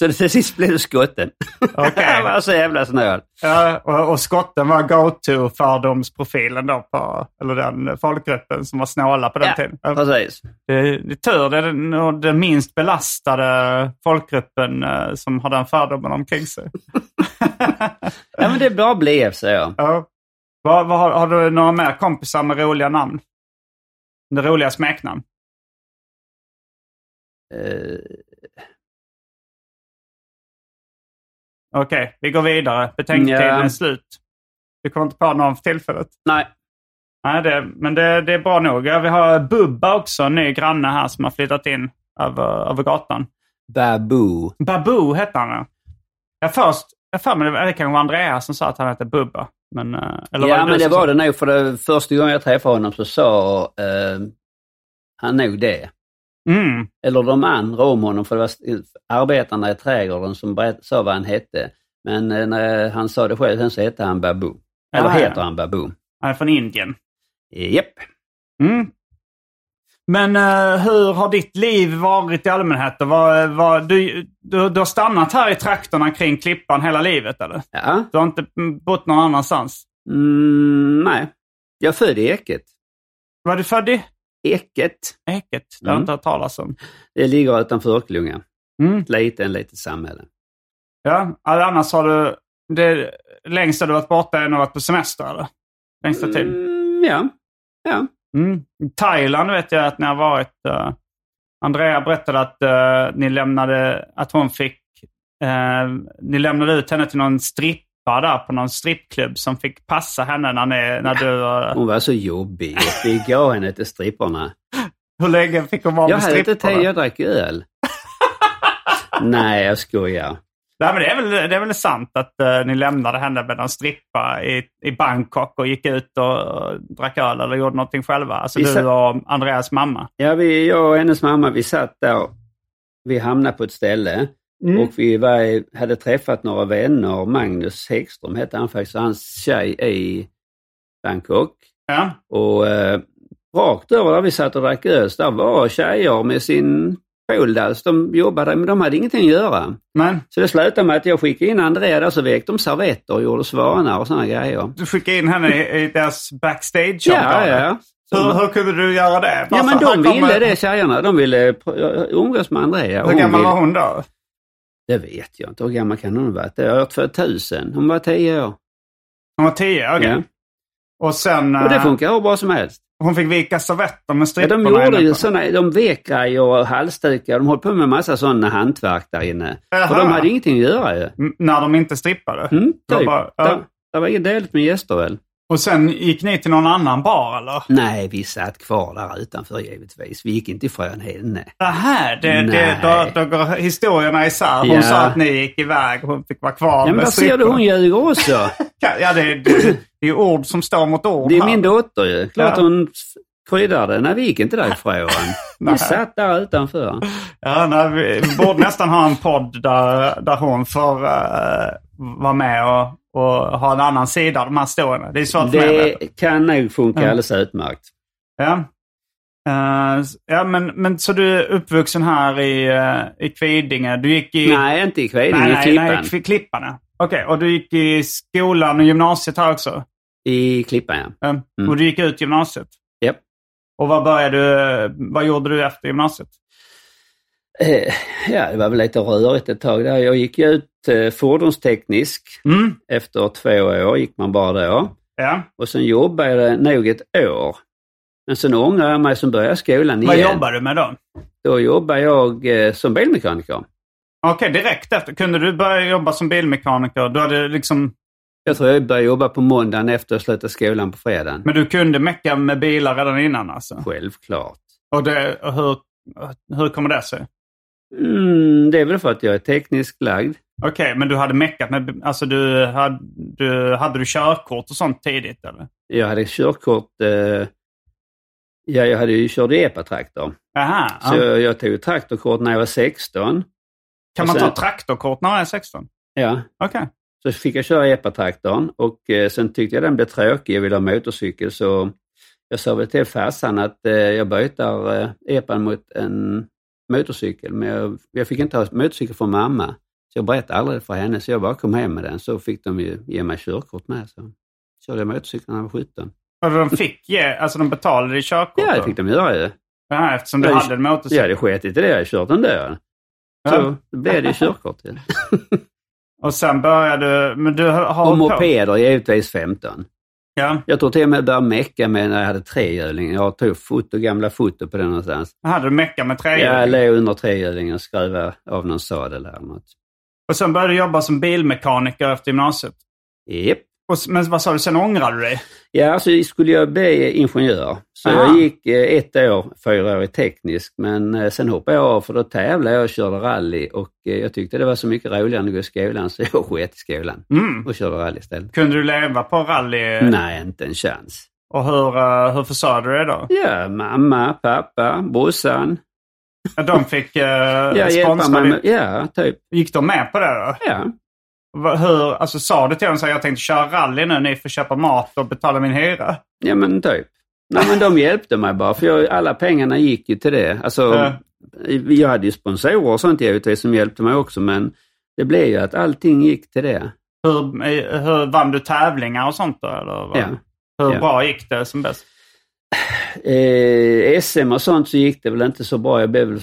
Speaker 3: så det till sist blev det skotten.
Speaker 1: Okej.
Speaker 3: [laughs] han var så jävla snål.
Speaker 1: Ja, och, och Skotten var go-to-fördomsprofilen då, på, eller den folkgruppen som var snåla på den tiden. Ja.
Speaker 3: precis.
Speaker 1: Det, det är tur, det är den, och den minst belastade folkgruppen eh, som har den fördomen omkring
Speaker 3: [laughs]
Speaker 1: sig. [laughs]
Speaker 3: Ja, men det bara blev så. Ja.
Speaker 1: ja. vad, vad, har, har du några mer kompisar med roliga namn? Med roliga smeknamn?
Speaker 3: Eh,
Speaker 1: Okej, vi går vidare. Betänketiden
Speaker 3: Ja.
Speaker 1: är slut. Vi kommer inte på någon för tillfället.
Speaker 3: nej,
Speaker 1: Nej, det, men det, det är bra nog. Ja, vi har Bubba också, en ny granne här som har flyttat in över, över gatan.
Speaker 3: Babu.
Speaker 1: Babu hette han ja. Jag först, jag för mig, det var- det kanske var Andreas som sa att han hette Bubba. Men, eh, eller
Speaker 3: ja,
Speaker 1: du
Speaker 3: men det
Speaker 1: som sa?
Speaker 3: var det nog. För det, första gången jag träffade honom så sa eh, han nog det.
Speaker 1: Mm.
Speaker 3: Eller de andra om honom, för det var arbetarna i trädgården som berätt, sa vad han hette. Men eh, när han sa det själv sen så hette han Babu. Eller
Speaker 1: Ah, ja.
Speaker 3: heter han Babu.
Speaker 1: Han är från Indien.
Speaker 3: Japp.
Speaker 1: Mm. Men eh, hur har ditt liv varit i allmänhet? Och Vad, vad, du, du, du har stannat här i trakterna kring Klippan hela livet eller?
Speaker 3: Ja.
Speaker 1: Du har inte mm, bott någon annanstans?
Speaker 3: Mm, nej. Jag är född i Äcket.
Speaker 1: Var du född i
Speaker 3: Äcket.
Speaker 1: Äcket? Det har jag
Speaker 3: Mm.
Speaker 1: inte hört talas om.
Speaker 3: Det ligger utanför Örkelljunga.
Speaker 1: Mm.
Speaker 3: Ett litet, litet samhälle.
Speaker 1: Ja, alltså, annars har du... Det, längst har du varit borta än du har varit på semester eller? Längsta tiden?
Speaker 3: Mm, ja. ja.
Speaker 1: Mm. I Thailand vet jag att ni har varit. eh, Andrea berättade att eh, ni lämnade, att hon fick, eh, ni lämnade ut henne till någon strippa där på någon strippklubb som fick passa henne när, ni, när du... eh,
Speaker 3: Hon var så jobbig. Vi gav henne till stripporna.
Speaker 1: hur länge fick hon vara
Speaker 3: Jag
Speaker 1: med
Speaker 3: hade inte
Speaker 1: stripporna?
Speaker 3: tid, jag drack [laughs] öl. Nej, jag skojar.
Speaker 1: Nej, men det, är väl, det är väl sant att eh, ni lämnade henne med någon strippa i, i Bangkok och gick ut och, eh, drack öl eller gjorde någonting själva? Alltså
Speaker 3: Vi
Speaker 1: du
Speaker 3: sa-
Speaker 1: och Andreas mamma?
Speaker 3: Ja, vi, jag och hennes mamma, vi satt där. Vi hamnade på ett ställe
Speaker 1: Mm.
Speaker 3: och vi var, i- hade träffat några vänner. Magnus Häggström hette han faktiskt, och hans tjej i Bangkok.
Speaker 1: Ja.
Speaker 3: Och eh, rakt över där vi satt och drack öl, så där var tjejer med sin poldals. De jobbade, men de hade ingenting att göra.
Speaker 1: Men
Speaker 3: Så det slutade med att jag skickade in Andrea där, så vek de servetter och gjorde svanar och sådana grejer.
Speaker 1: du skickade in henne i, i deras backstage
Speaker 3: Ja, ja.
Speaker 1: Hur, hur kunde du göra det?
Speaker 3: Ja,
Speaker 1: Bara
Speaker 3: men
Speaker 1: så här
Speaker 3: de
Speaker 1: kommer-
Speaker 3: ville det, tjejerna. De ville pr- umgås med Andrea. och
Speaker 1: Hur
Speaker 3: hon
Speaker 1: gammal
Speaker 3: ville-
Speaker 1: var hon då?
Speaker 3: Det vet jag inte. Hur gammal kan hon ha varit? Det var 2000. Hon var 10 år.
Speaker 1: Hon var tio, okej.
Speaker 3: Ja.
Speaker 1: Och sen...
Speaker 3: Och det
Speaker 1: eh,
Speaker 3: funkar hur bra som helst.
Speaker 1: Hon fick vika servetter med
Speaker 3: Ja, de
Speaker 1: stripporna
Speaker 3: gjorde
Speaker 1: inne
Speaker 3: ju
Speaker 1: på-
Speaker 3: sådana, de vek grejer och halsdukar. De höll på med massa sådana hantverk där inne.
Speaker 1: Jaha.
Speaker 3: För de hade ingenting att göra ju.
Speaker 1: M- När de inte strippade.
Speaker 3: Mm, typ.
Speaker 1: Jag bara, ja.
Speaker 3: där, där var inget deligt med gäster väl?
Speaker 1: Och sen gick ni till någon annan bar eller?
Speaker 3: Nej, vi satt kvar där utanför givetvis. Vi gick inte ifrån henne.
Speaker 1: Nähä, det, det,
Speaker 3: Nej.
Speaker 1: då, då går historierna isär. Hon
Speaker 3: Ja.
Speaker 1: sa att ni gick iväg och hon fick vara kvar
Speaker 3: Ja, men
Speaker 1: med
Speaker 3: där ser du,
Speaker 1: stripporna.
Speaker 3: hon ljuger
Speaker 1: [laughs]
Speaker 3: också.
Speaker 1: Ja, det, är- det, det är ju ord som står mot ord
Speaker 3: Det är
Speaker 1: här.
Speaker 3: min dotter ju. Klart
Speaker 1: Ja.
Speaker 3: hon kryddar det. Nej, vi gick
Speaker 1: [laughs]
Speaker 3: inte därifrån.
Speaker 1: Nej.
Speaker 3: Vi satt där utanför.
Speaker 1: Ja, nej, vi vi borde nästan ha en podd där, där hon får eh, vara med och, och ha en annan sida av de här historierna. Det är svårt för mig att veta.
Speaker 3: Det kan nog funka
Speaker 1: Ja.
Speaker 3: alldeles utmärkt.
Speaker 1: Ja. Eh, ja, men, men så du är uppvuxen här i, eh, i Kvidinge? Du gick i...
Speaker 3: Nej, inte i Kvidinge,
Speaker 1: nej,
Speaker 3: i
Speaker 1: nej,
Speaker 3: Klippan.
Speaker 1: nej, i Kvi- Klippan. ja. Okej, och du gick i skolan och gymnasiet här också?
Speaker 3: I Klippan, ja.
Speaker 1: Eh,
Speaker 3: Mm.
Speaker 1: Och du gick ut gymnasiet?
Speaker 3: Japp.
Speaker 1: Och vad började du, vad gjorde du efter gymnasiet?
Speaker 3: Eh, Ja, det var väl lite rörigt ett tag där. Jag gick ju ut eh, fordonsteknisk
Speaker 1: Mm,
Speaker 3: efter två år, gick man bara då.
Speaker 1: ja.
Speaker 3: Och sen jobbade jag nog ett år. Men sen ångrade jag mig, sen började jag skolan igen.
Speaker 1: Vad jobbar du med då?
Speaker 3: Då jobbade jag eh, som bilmekaniker.
Speaker 1: Okej, direkt efter. Kunde du börja jobba som bilmekaniker? Du hade liksom,
Speaker 3: Jag tror jag började jobba på måndagen efter jag slutade skolan på fredagen.
Speaker 1: men du kunde mecka med bilar redan innan alltså?
Speaker 3: Självklart.
Speaker 1: Och, det, och hur, hur kommer det sig?
Speaker 3: Mm, det är väl för att jag är tekniskt lagd.
Speaker 1: Okej, men du hade meckat med... Alltså du hade, du, hade du körkort och sånt tidigt eller?
Speaker 3: Jag hade körkort... Eh, ja, jag hade ju kört epatraktor.
Speaker 1: Aha, ja.
Speaker 3: Så jag, jag tog traktorkort när jag var 16.
Speaker 1: Kan man
Speaker 3: och sen-
Speaker 1: ta traktorkort när man är 16?
Speaker 3: Ja,
Speaker 1: Okej.
Speaker 3: så fick jag köra epatraktorn och eh, sen tyckte jag den blev tråkig. Jag ville ha motorcykel så jag sa väl till farsan att eh, jag byter eh, epan mot en motorcykel. Men jag, jag fick inte ha motorcykel från mamma. Så jag berättade aldrig för henne så jag bara kom hem med den. Så fick de ju ge mig körkort med. Så körde jag motorcykel när jag var 17.
Speaker 1: Och de fick ge... Alltså de betalade dig körkort?
Speaker 3: Ja,
Speaker 1: då?
Speaker 3: det fick de göra ju.
Speaker 1: Aha, eftersom du
Speaker 3: Ja,
Speaker 1: hade en
Speaker 3: Jag
Speaker 1: motorcykel.
Speaker 3: hade skitit i det, jag hade kört ändå.
Speaker 1: Ja.
Speaker 3: Så då blev det ju körkort. ju.
Speaker 1: Och sen började du... Men du har har
Speaker 3: Och
Speaker 1: hållit på-
Speaker 3: mopeder givetvis 15.
Speaker 1: Ja.
Speaker 3: Jag tror till och med jag började mecka med när jag hade trehjuling. Jag tog foto, gamla foto på den någonstans.
Speaker 1: Hade du meckat med trehjuling?
Speaker 3: Jag låg under trehjulingen och skruva av någon sadel eller något.
Speaker 1: Och sen började du jobba som bilmekaniker efter gymnasiet?
Speaker 3: Japp.
Speaker 1: Och, s- men vad sa du? Sen ångrade du dig?
Speaker 3: Ja, så skulle jag bli ingenjör. Så
Speaker 1: Aha.
Speaker 3: jag gick eh, ett år, fyra år i teknisk, men eh, sen hoppade jag av för då tävlade jag och körde rally och eh, jag tyckte det var så mycket roligare än att gå i skolan så [laughs] jag sket i skolan
Speaker 1: Mm.
Speaker 3: och körde rally istället.
Speaker 1: Kunde du leva på rally?
Speaker 3: Nej, inte en chans.
Speaker 1: Och hur, eh, hur försörjde du dig då?
Speaker 3: Ja, mamma, pappa, brorsan.
Speaker 1: Ja, De fick uh,
Speaker 3: [laughs] Ja, hjälpa
Speaker 1: sponsra
Speaker 3: mig.
Speaker 1: dig.
Speaker 3: med- Ja, typ.
Speaker 1: Gick de med på det då?
Speaker 3: Ja.
Speaker 1: Va- Hur, alltså sa du till dem så här, jag tänkte köra rally nu, ni får köpa mat och betala min hyra?
Speaker 3: Ja men typ. Nej men de hjälpte mig bara för jag, alla pengarna gick ju till det. Alltså,
Speaker 1: Ja.
Speaker 3: Jag hade ju sponsorer och sånt givetvis som hjälpte mig också men det blev ju att allting gick till det.
Speaker 1: Hur, eh, hur vann du tävlingar och sånt då? Eller vad?
Speaker 3: Ja.
Speaker 1: Hur
Speaker 3: ja.
Speaker 1: bra gick det som bäst?
Speaker 3: Eh, SM och sånt så gick det väl inte så bra. Jag blev väl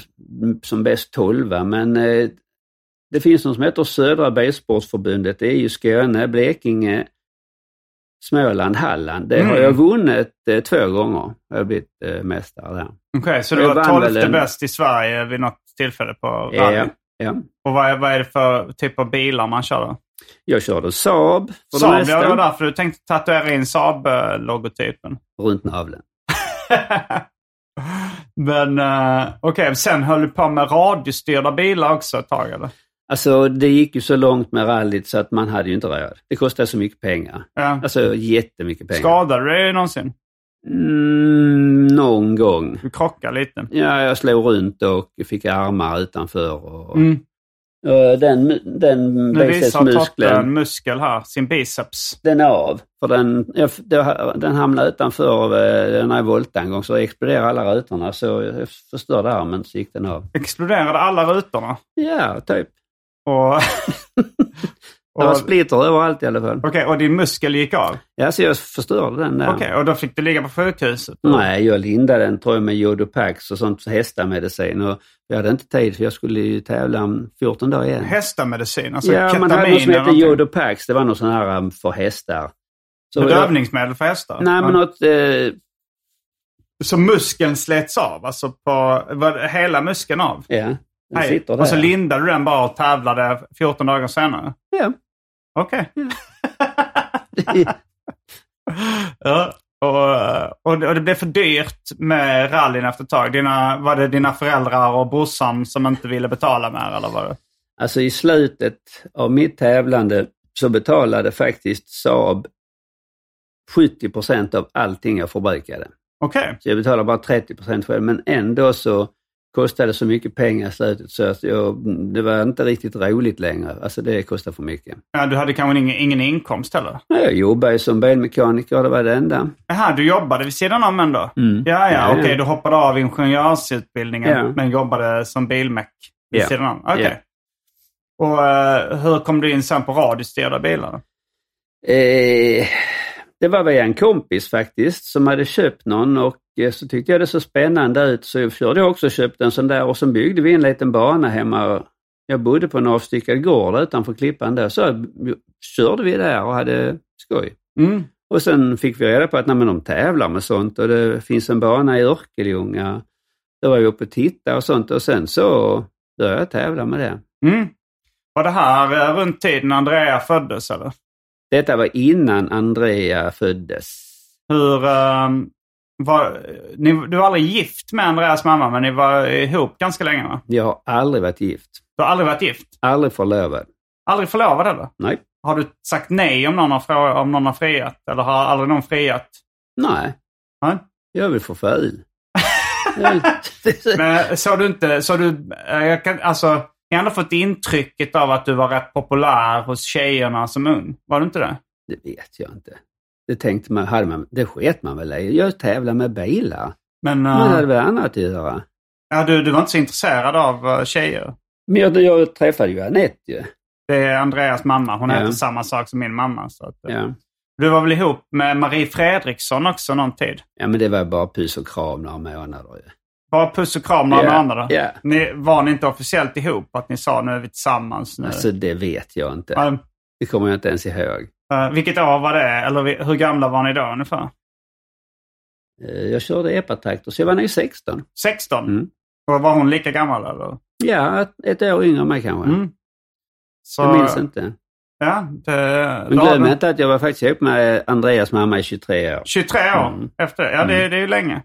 Speaker 3: som bäst 12 men eh, det finns något som heter Södra Bilsportförbundet. Det är ju Skåne, Blekinge, Småland, Halland. Det har
Speaker 1: Mm.
Speaker 3: jag vunnit eh, två gånger. Jag har blivit eh, mästare där.
Speaker 1: Okej, så du
Speaker 3: Jag
Speaker 1: var
Speaker 3: vann väl
Speaker 1: tolfte
Speaker 3: en-
Speaker 1: bäst i Sverige vid något tillfälle på rally?
Speaker 3: Ja, ja.
Speaker 1: Och vad är, vad är det för typ av bilar man kör då?
Speaker 3: Jag körde Saab för det
Speaker 1: Saab,
Speaker 3: mesta.
Speaker 1: ja, det var därför du tänkte tatuera in Saab-logotypen.
Speaker 3: runt naveln.
Speaker 1: [laughs] Men uh, okej, sen höll du på med radiostyrda bilar också ett tag eller?
Speaker 3: Alltså det gick ju så långt med rallyt så att man hade ju inte råd. Det kostade så mycket pengar.
Speaker 1: Ja.
Speaker 3: Alltså jättemycket pengar.
Speaker 1: Skadade du dig någonsin?
Speaker 3: Mm, någon gång.
Speaker 1: Du krockade lite?
Speaker 3: Ja, jag slog runt och fick armar utanför. Och,
Speaker 1: Mm.
Speaker 3: och den mu- den
Speaker 1: Nu visar Totte
Speaker 3: bicepsmuskeln,
Speaker 1: en muskel här, sin biceps.
Speaker 3: den är av. För den, jag, f- det- den hamnade utanför eh, när jag voltade en gång så exploderade alla rutorna. Så jag förstörde armen så gick den av.
Speaker 1: Exploderade alla rutorna.
Speaker 3: Ja, typ. [laughs]
Speaker 1: Och, [laughs]
Speaker 3: Det var
Speaker 1: och, Okej,
Speaker 3: splitter överallt i alla fall.
Speaker 1: och din muskel gick av?
Speaker 3: Ja, så jag förstörde den där.
Speaker 1: Okej, och då fick du ligga på sjukhuset?
Speaker 3: Nej, jag lindade den tror jag med Jodopax och sånt hästamedicin. Och jag hade inte tid för jag skulle ju tävla om 14 dagar igen.
Speaker 1: Hästamedicin? Alltså
Speaker 3: ja, man hade
Speaker 1: ketamin
Speaker 3: något som
Speaker 1: eller
Speaker 3: hette
Speaker 1: någonting?
Speaker 3: Jodopax. Det var något sån här um, för hästar. Så
Speaker 1: Bedövningsmedel för hästar?
Speaker 3: Jag, nej, men något... Eh,
Speaker 1: Så muskeln slets av? Alltså på, var hela muskeln av?
Speaker 3: ja, den
Speaker 1: Nej,
Speaker 3: sitter där.
Speaker 1: Och så lindade du den bara och tävlade 14 dagar senare?
Speaker 3: ja. [laughs]
Speaker 1: Okej.
Speaker 3: Mm.
Speaker 1: Ja. Och, och, det- och det blev för dyrt med rallyn efter ett tag. Dina, var det dina föräldrar och brorsan som inte ville betala mer? Eller var det?
Speaker 3: Alltså i slutet av mitt tävlande så betalade faktiskt Saab 70 procent av allting jag förbrukade.
Speaker 1: Okej.
Speaker 3: Så jag betalar bara 30 procent själv, men ändå så kostade så mycket pengar i slutet så att jag, mm, det var inte riktigt roligt längre. Alltså det kostade för mycket.
Speaker 1: Ja, du hade kanske ingen, ingen inkomst heller?
Speaker 3: Nej, Jag jobbade ju som bilmekaniker, det var det enda.
Speaker 1: Jaha, du jobbade vid sidan om ändå?
Speaker 3: Mm.
Speaker 1: Ja, ja,
Speaker 3: Ja,
Speaker 1: okej.
Speaker 3: ja.
Speaker 1: Du hoppade av ingenjörsutbildningen
Speaker 3: Ja.
Speaker 1: men jobbade som bilmek vid
Speaker 3: Ja.
Speaker 1: sidan om? Okej.
Speaker 3: Ja.
Speaker 1: Och eh, hur kom du in sen på radiostyrda bilar?
Speaker 3: Eh, det var via en kompis faktiskt som hade köpt någon och eh, så tyckte jag det så spännande ut så jag körde jag också och köpte en sån där och så byggde vi en liten bana hemma. Jag bodde på en avstyckad gård utanför Klippan där så körde vi där och hade skoj.
Speaker 1: Mm.
Speaker 3: Och sen fick vi reda på att nej, men de tävlar med sånt och det finns en bana i Örkelljunga. Då var vi uppe och tittade och sånt och sen så började jag tävla med det.
Speaker 1: Mm. Var det här eh, runt tiden Andrea föddes eller?
Speaker 3: Detta var innan Andrea föddes.
Speaker 1: Hur... eh, var, ni, du var aldrig gift med Andreas mamma, men ni var ihop ganska länge va?
Speaker 3: Jag har aldrig varit gift.
Speaker 1: Du har aldrig varit gift?
Speaker 3: Aldrig förlovad.
Speaker 1: Aldrig förlovad eller?
Speaker 3: Nej.
Speaker 1: Har du sagt nej om någon har, frå- om någon har friat? Eller har aldrig någon friat?
Speaker 3: Nej,
Speaker 1: Nej.
Speaker 3: jag är väl för ful. Jag-
Speaker 1: [laughs] Men så du inte, så du, eh, jag kan, alltså, jag har ändå fått intrycket av att du var rätt populär hos tjejerna som ung. Var du inte det?
Speaker 3: det vet jag inte. Det tänkte man, hade man, det sket man väl i. Jag tävlar med bilar.
Speaker 1: Men
Speaker 3: Man hade
Speaker 1: eh,
Speaker 3: väl annat att göra.
Speaker 1: ja, du, du var inte så intresserad av eh, tjejer.
Speaker 3: Men jag, jag träffade ju Anette ju.
Speaker 1: Det är Andreas mamma. Hon
Speaker 3: Ja.
Speaker 1: heter samma sak som min mamma. Så att, eh,
Speaker 3: Ja.
Speaker 1: Du var väl ihop med Marie Fredriksson också någon tid?
Speaker 3: ja, men det var bara pys och kram några månader ju.
Speaker 1: Bara puss och kram några
Speaker 3: Ja,
Speaker 1: månader.
Speaker 3: ja.
Speaker 1: Ni, var ni inte officiellt ihop? Att ni sa nu är vi tillsammans nu?
Speaker 3: Alltså det vet jag inte.
Speaker 1: Ja,
Speaker 3: Det kommer jag inte ens ihåg.
Speaker 1: eh, vilket år var det? Eller vi- hur gamla var ni då ungefär?
Speaker 3: Eh, Jag körde epatraktor så jag var nog 16.
Speaker 1: 16?
Speaker 3: Mm.
Speaker 1: Och var hon lika gammal eller?
Speaker 3: Ja, ett, ett år yngre än mig kanske.
Speaker 1: Mm. Så,
Speaker 3: Jag minns inte.
Speaker 1: Ja, det,
Speaker 3: Men
Speaker 1: då har
Speaker 3: glöm
Speaker 1: du-
Speaker 3: inte att jag var faktiskt ihop med Andreas mamma i 23 år.
Speaker 1: 23 år
Speaker 3: Mm.
Speaker 1: efter. Ja, det,
Speaker 3: Mm.
Speaker 1: det är ju länge.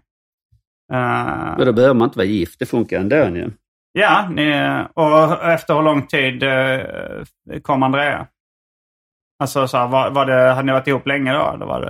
Speaker 1: Eh,
Speaker 3: Men då behöver man inte vara gift, det funkar ändå ju.
Speaker 1: ja, ni, och efter hur lång tid eh, kom Andrea? Alltså, så här, var, var det, hade ni varit ihop länge då? Eller var det?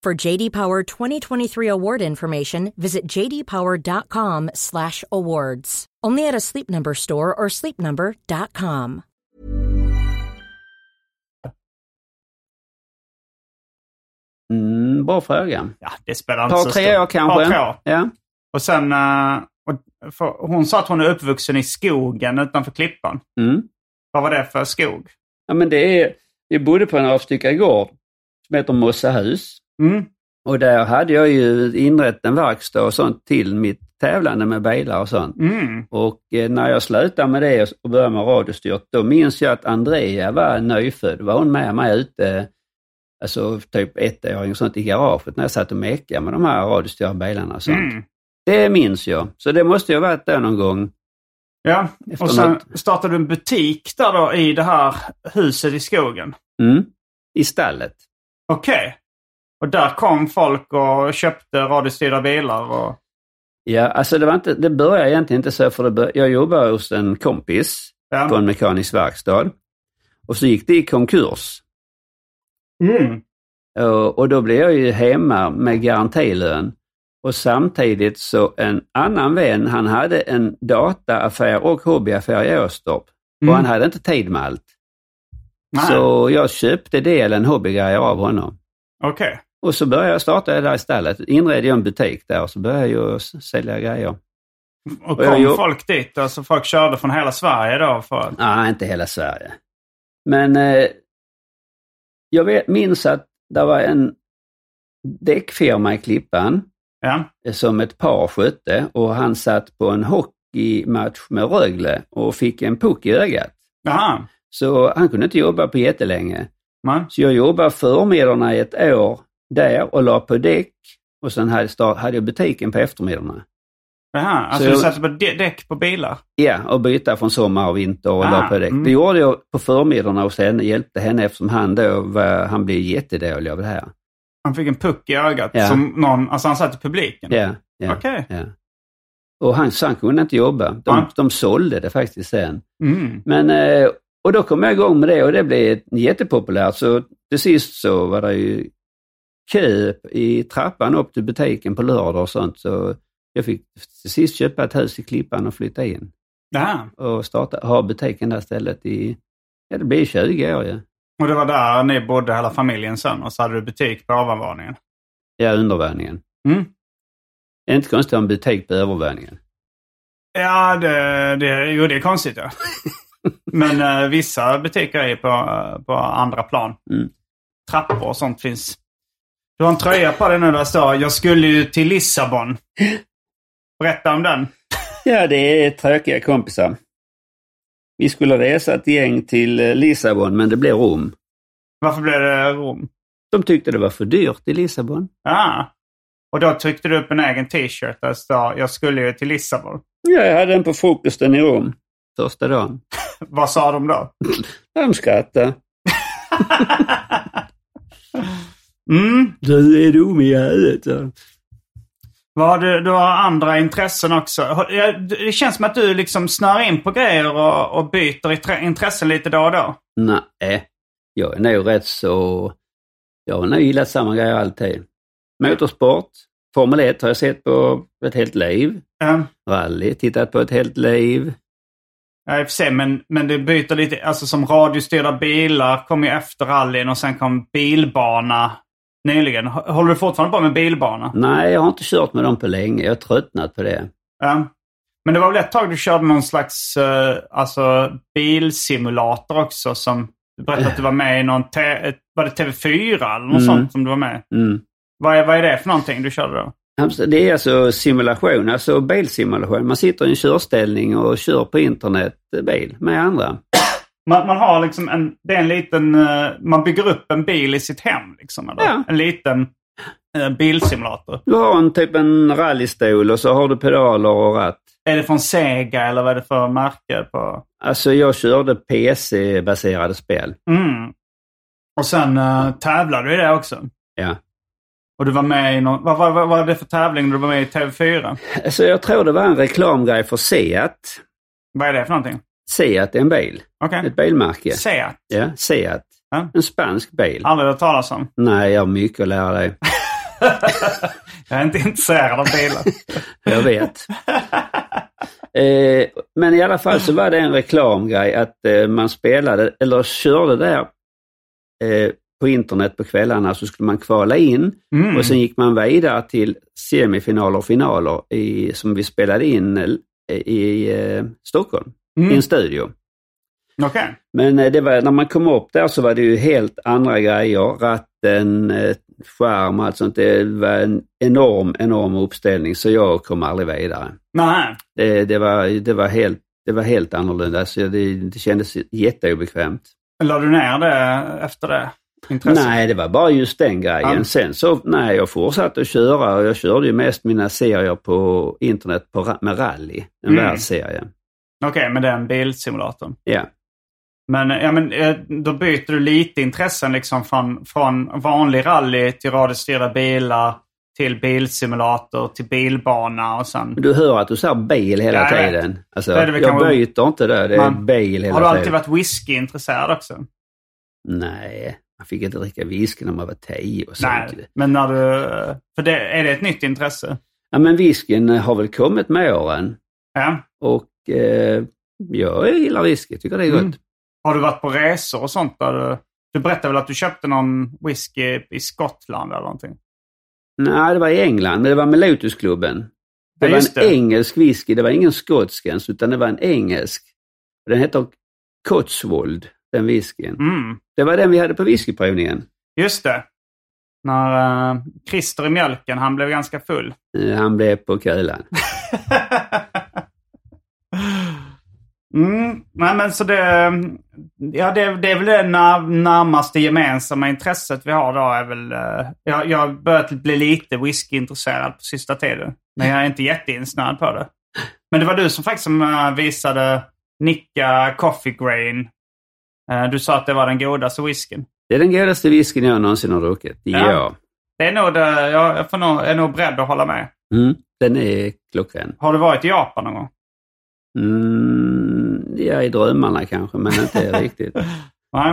Speaker 4: For JD Power 2023 award information, visit jdpower.com/awards. Only at a Sleep Number store or sleepnumber.com.
Speaker 3: Mm, bra fråga.
Speaker 1: Ja, det spelar inte
Speaker 3: Par
Speaker 1: så
Speaker 3: tre
Speaker 1: stor-
Speaker 3: år kanske?
Speaker 1: Par tre år.
Speaker 3: Ja.
Speaker 1: Och sen, eh, och, för, hon sa att hon är uppvuxen i skogen utanför Klippan.
Speaker 3: Mm.
Speaker 1: Vad var det för skog?
Speaker 3: ja, men det är... Vi bodde på en avstyckad gård som heter Mossahus.
Speaker 1: Mm.
Speaker 3: Och där hade jag ju inrett en verkstad och sånt till mitt tävlande med bilar och sånt.
Speaker 1: Mm.
Speaker 3: Och eh, när jag slutade med det och började med radiostyrt, då minns jag att Andrea var nyfödd. var hon med mig ute, alltså typ ett år och sånt, i garaget när jag satt och mekade med de här radiostyrda bilarna och sånt.
Speaker 1: Mm.
Speaker 3: Det minns jag. Så det måste jag ha varit där någon gång.
Speaker 1: Ja,
Speaker 3: Efter
Speaker 1: och sen
Speaker 3: något-
Speaker 1: startade du en butik där då i det här huset i skogen.
Speaker 3: Mm. I stallet.
Speaker 1: Okej. Och där kom folk och köpte radiostyrda bilar och...
Speaker 3: Ja, alltså det, var inte, det började egentligen inte så, för det bör, jag jobbade hos en kompis
Speaker 1: Ja.
Speaker 3: på en mekanisk verkstad. Och så gick det i konkurs.
Speaker 1: Mm.
Speaker 3: Och, och då blev jag ju hemma med garantilön. Och samtidigt så en annan vän, han hade en dataaffär och hobbyaffär i Åstorp.
Speaker 1: Mm.
Speaker 3: Och han hade inte tid med allt.
Speaker 1: Nej.
Speaker 3: Så jag köpte delen hobbygrejer av honom.
Speaker 1: Okej.
Speaker 3: Och så började jag starta där istället. Inredde jag en butik där och så började jag s- sälja grejer.
Speaker 1: Och
Speaker 3: Och jag
Speaker 1: kom
Speaker 3: jobb-
Speaker 1: folk dit? Alltså folk körde från hela Sverige då? För... att-
Speaker 3: Nej, inte hela Sverige. Men eh, jag vet, minns att det var en däckfirma i Klippan
Speaker 1: Ja.
Speaker 3: eh, som ett par skötte och han satt på en hockeymatch med Rögle och fick en puck i ögat.
Speaker 1: Jaha.
Speaker 3: Så han kunde inte jobba på jättelänge.
Speaker 1: Nej.
Speaker 3: Så jag jobbade förmiddagarna i ett år där och la på däck och sen hade, start, hade jag butiken på eftermiddagarna.
Speaker 1: Jaha. Alltså du
Speaker 3: Så jag-
Speaker 1: satte på dä- däck på bilar?
Speaker 3: Ja, och byta från sommar och vinter och
Speaker 1: Ah,
Speaker 3: la på däck.
Speaker 1: mm.
Speaker 3: Det gjorde jag på förmiddagarna och sen hjälpte henne eftersom han då var, han blev jättedålig av det här.
Speaker 1: Han fick en puck i ögat
Speaker 3: Ja.
Speaker 1: som någon... Alltså han satt i publiken?
Speaker 3: Ja, ja,
Speaker 1: Okej. Ah.
Speaker 3: ja. Och han, så han kunde inte jobba. De,
Speaker 1: Nej.
Speaker 3: de sålde det faktiskt sen.
Speaker 1: Mm.
Speaker 3: Men, eh, och då kom jag igång med det och det blev jättepopulärt. Så till sist så var det ju kö i trappan upp till butiken på lördag och sånt. Så jag fick till sist köpa ett hus i Klippan och flytta in
Speaker 1: Jaha.
Speaker 3: och starta, ha butiken där stället i, ja det blir 20 år ju.
Speaker 1: Och det var där ni bodde hela familjen sen och så hade du butik på ovanvåningen?
Speaker 3: Ja, undervåningen.
Speaker 1: Mm.
Speaker 3: Det är inte konstigt att ha en butik på övervåningen.
Speaker 1: Ja, det, det, jo, det är konstigt ja. Men eh, vissa butiker är på, eh, på andra plan.
Speaker 3: Mm.
Speaker 1: Trappor och sånt finns. Du har en tröja på dig nu där det står “Jag skulle ju till Lissabon”. Berätta om den.
Speaker 3: Ja, det är tråkiga kompisar. Vi skulle resa ett gäng till eh, Lissabon, men det blev Rom.
Speaker 1: Varför blev det Rom?
Speaker 3: De tyckte det var för dyrt i Lissabon.
Speaker 1: Ah. Och då tryckte du upp en egen t-shirt där det står “Jag skulle ju till Lissabon”.
Speaker 3: Ja, jag hade den på frukosten i Rom första dagen.
Speaker 1: Vad sa de då?
Speaker 3: De skrattade.
Speaker 1: Mm.
Speaker 3: Du är dum i huvudet. sa de.
Speaker 1: Vad har du, du har andra intressen också. Har- ja, Det känns som att du liksom snör in på grejer och, och byter intre- intressen lite då och då.
Speaker 3: Nej, jag är nog rätt så... Jag har nog gillat samma grejer alltid. Motorsport, Formel 1 har jag sett på ett helt liv.
Speaker 1: Eh,
Speaker 3: Rally, tittat på ett helt liv.
Speaker 1: Ja, i och för sig, men, men du byter lite. Alltså som radiostyrda bilar kom ju efter rallyn och sen kom bilbana nyligen. H- Håller du fortfarande på med bilbana?
Speaker 3: Nej, jag har inte kört med dem på länge. Jag har tröttnat på det.
Speaker 1: Ja. Men det var väl ett tag du körde någon slags eh, alltså, bilsimulator också som du berättade att du var med i någon... T- var det TV4 eller något
Speaker 3: Mm.
Speaker 1: sånt som du var med i?
Speaker 3: Mm.
Speaker 1: Vad är, vad är det för någonting du körde då?
Speaker 3: Alltså, Det är alltså simulation, alltså bilsimulation. Man sitter i en körställning och kör på internet eh, bil med andra.
Speaker 1: Man, man har liksom en, det är en liten, eh, man bygger upp en bil i sitt hem liksom. Eller?
Speaker 3: Ja.
Speaker 1: En liten eh, bilsimulator.
Speaker 3: Du har en typ en rallystol och så har du pedaler och ratt.
Speaker 1: Är det från Sega eller vad är det för märke? På?
Speaker 3: Alltså jag körde PC-baserade spel.
Speaker 1: Mm. Och sen uh, tävlade du i det också.
Speaker 3: Ja.
Speaker 1: Och du var med i någon, vad, vad, vad var det för tävling du var med i TV4?
Speaker 3: Alltså jag tror det var en reklamgrej för Seat.
Speaker 1: Vad är det för någonting?
Speaker 3: Seat är en bil,
Speaker 1: Okej.
Speaker 3: ett bilmärke.
Speaker 1: Seat.
Speaker 3: Ja, Seat.
Speaker 1: Ja.
Speaker 3: En spansk bil.
Speaker 1: Aldrig hört talas om.
Speaker 3: Nej, jag har mycket att
Speaker 1: [laughs]
Speaker 3: lära dig.
Speaker 1: Jag är inte [laughs] intresserad av bilar.
Speaker 3: Jag vet. eh, men i alla fall så var det en reklamgrej att eh, man spelade, eller körde där eh, på internet på kvällarna så skulle man kvala in
Speaker 1: Mm.
Speaker 3: och sen gick man vidare till semifinaler och finaler i, som vi spelade in eh, i eh, Stockholm, i
Speaker 1: Mm.
Speaker 3: en studio.
Speaker 1: Okej.
Speaker 3: Men eh, det var, när man kom upp där så var det ju helt andra grejer. Ratten, eh, skärm och allt sånt. Det var en enorm, enorm uppställning så jag kom aldrig vidare.
Speaker 1: Nej.
Speaker 3: Det, det, var, det, var, helt, det var helt annorlunda. Så det, det kändes jätteobekvämt.
Speaker 1: La du ner det efter det? Intresset?
Speaker 3: Nej, det var bara just den grejen.
Speaker 1: Ja.
Speaker 3: Sen så, nej, jag fortsatte att köra och jag körde ju mest mina serier på internet på, ra- med rally. En
Speaker 1: Mm.
Speaker 3: världsserie.
Speaker 1: Okej, men den bilsimulatorn.
Speaker 3: Ja.
Speaker 1: Men, ja, men eh, då byter du lite intressen liksom från, från vanlig rally till radiostyrda bilar till bilsimulator, till bilbana och sen...
Speaker 3: Du hör att du säger bil hela
Speaker 1: Ja, jag vet.
Speaker 3: tiden. Alltså,
Speaker 1: Det är det väl
Speaker 3: jag
Speaker 1: kanske-
Speaker 3: byter inte det. Det är
Speaker 1: Man-
Speaker 3: bil hela
Speaker 1: Har du
Speaker 3: tiden.
Speaker 1: alltid varit whiskyintresserad också?
Speaker 3: Nej, man fick inte dricka whisky när man var tio och sånt.
Speaker 1: Nej, men när du... För det, är det ett nytt intresse?
Speaker 3: Ja, men whiskyn eh, har väl kommit med åren.
Speaker 1: Ja.
Speaker 3: Och eh, jag gillar whisky, tycker det är gott.
Speaker 1: Mm. Har du varit på resor och sånt? Där du, du berättade väl att du köpte någon whisky i Skottland eller någonting?
Speaker 3: Nej, det var i England, men det var med Lotusklubben. Det
Speaker 1: Ja,
Speaker 3: var
Speaker 1: just
Speaker 3: en
Speaker 1: det.
Speaker 3: engelsk whisky, det var ingen skotsk ens, utan det var en engelsk. Den heter Cotswold, den whiskyn.
Speaker 1: Mm,
Speaker 3: Det var den vi hade på whiskyprovningen.
Speaker 1: just det. När uh, Christer i mjölken, han blev ganska full.
Speaker 3: Eh, Han blev på kulan.
Speaker 1: [laughs] Mm, nej men så det, ja, det, det är väl det när, närmaste gemensamma intresset vi har då är väl, eh, jag, jag har börjat bli lite whiskyintresserad på sista tiden. Men jag är inte jätteinsnöad på det. Men det var du som faktiskt som eh, visade Nicka Coffee Grain. Eh, Du sa att det var den godaste whiskyn.
Speaker 3: Det är den godaste whiskyn jag någonsin har druckit.
Speaker 1: Ja.
Speaker 3: Ja.
Speaker 1: Det är nog det, jag jag får nog, är nog beredd att hålla med.
Speaker 3: Mm, den är klockren.
Speaker 1: Har du varit i Japan någon gång?
Speaker 3: Mm, ja, i drömmarna kanske, men
Speaker 1: [laughs]
Speaker 3: inte riktigt.
Speaker 1: Nej.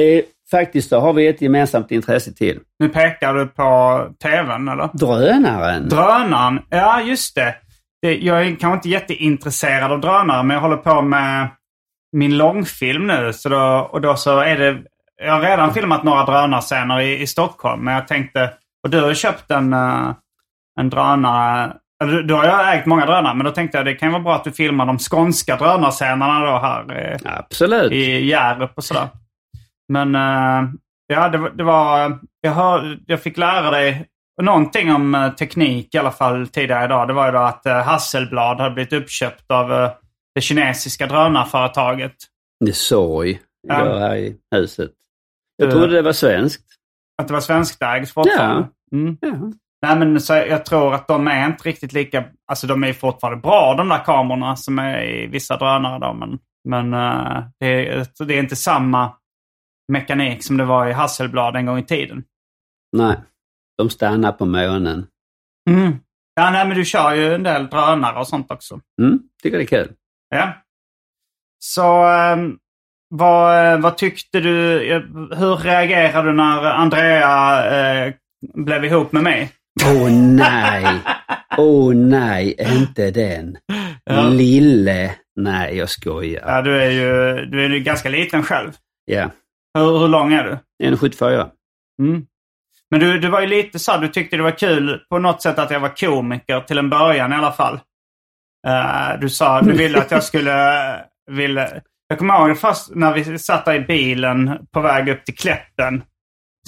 Speaker 3: Eh, faktiskt då har vi ett gemensamt intresse till.
Speaker 1: Nu pekar du på tvn eller?
Speaker 3: Drönaren.
Speaker 1: Drönaren, ja just det. det. Jag är kanske inte jätteintresserad av drönare men jag håller på med min långfilm nu. Så då, och då så är det, jag har redan filmat några drönarscener i, i Stockholm men jag tänkte, och du har ju köpt en, eh, en drönare. eller Du, du har ju ägt många drönare men då tänkte jag det kan vara bra att du filmar de skånska drönarscenerna då här. eh,
Speaker 3: Absolut.
Speaker 1: i Hjärup och sådär. Men eh, ja, det, var- det var... Jag, hör, jag fick lära dig någonting om eh, teknik i alla fall tidigare idag. Det var ju då att eh, Hasselblad hade blivit uppköpt av eh, det kinesiska drönarföretaget.
Speaker 3: Det är sorg.
Speaker 1: Ja.
Speaker 3: Jag här i huset. Jag
Speaker 1: Eh.
Speaker 3: trodde det var svenskt.
Speaker 1: Att det var svenskägt fortfarande. Mm.
Speaker 3: Ja.
Speaker 1: Nej, men så jag tror att de är inte riktigt lika... Alltså de är ju fortfarande bra de där kamerorna som är i vissa drönare då. Men, men eh, det, är, det är inte samma mekanik som det var i Hasselblad en gång i tiden.
Speaker 3: Nej, de stannar på månen.
Speaker 1: Mm. Ja, nej, men du kör ju en del drönare och sånt också.
Speaker 3: Mm, tycker det
Speaker 1: [laughs]
Speaker 3: är kul.
Speaker 1: Ja. Så ehm, vad, eh, vad tyckte du? eh, Hur reagerade du när Andrea eh, blev ihop med mig?
Speaker 3: Åh nej! Åh nej, inte den.
Speaker 1: Ja.
Speaker 3: Lille. Nej, jag skojar.
Speaker 1: Ja, du är ju du är ju ganska liten själv.
Speaker 3: Ja,
Speaker 1: Hur, hur lång är du?
Speaker 3: 1,74.
Speaker 1: Mm. Men du, du var ju lite så här, du tyckte det var kul på något sätt att jag var komiker till en början i alla fall. Eh, du sa, du ville att jag skulle, eh, ville, jag kommer ihåg först när vi satt där i bilen på väg upp till Kläppen.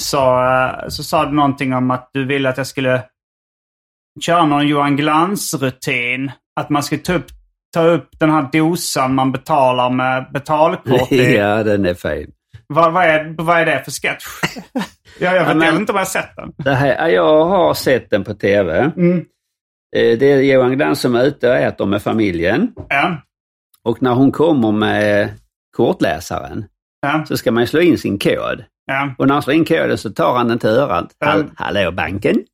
Speaker 1: Så, eh, så sa du någonting om att du ville att jag skulle köra någon Johan Glans-rutin. Att man skulle ta upp, ta upp den här dosan man betalar med betalkort i.
Speaker 3: [laughs] ja, den är fin.
Speaker 1: Vad, vad, är, vad är det för sketch? jag, jag, vet, jag vet inte om jag har sett den.
Speaker 3: Det här, ja, jag har sett den på tv.
Speaker 1: Mm.
Speaker 3: Eh, Det är Johan Glans som är ute och äter med familjen.
Speaker 1: Ja,
Speaker 3: Och när hon kommer med kortläsaren
Speaker 1: ja,
Speaker 3: så ska man ju slå in sin kod.
Speaker 1: [laughs] ja.
Speaker 3: Och när han slår in koden så tar han den till örat.
Speaker 1: Mm.
Speaker 3: Hall- Hallå banken!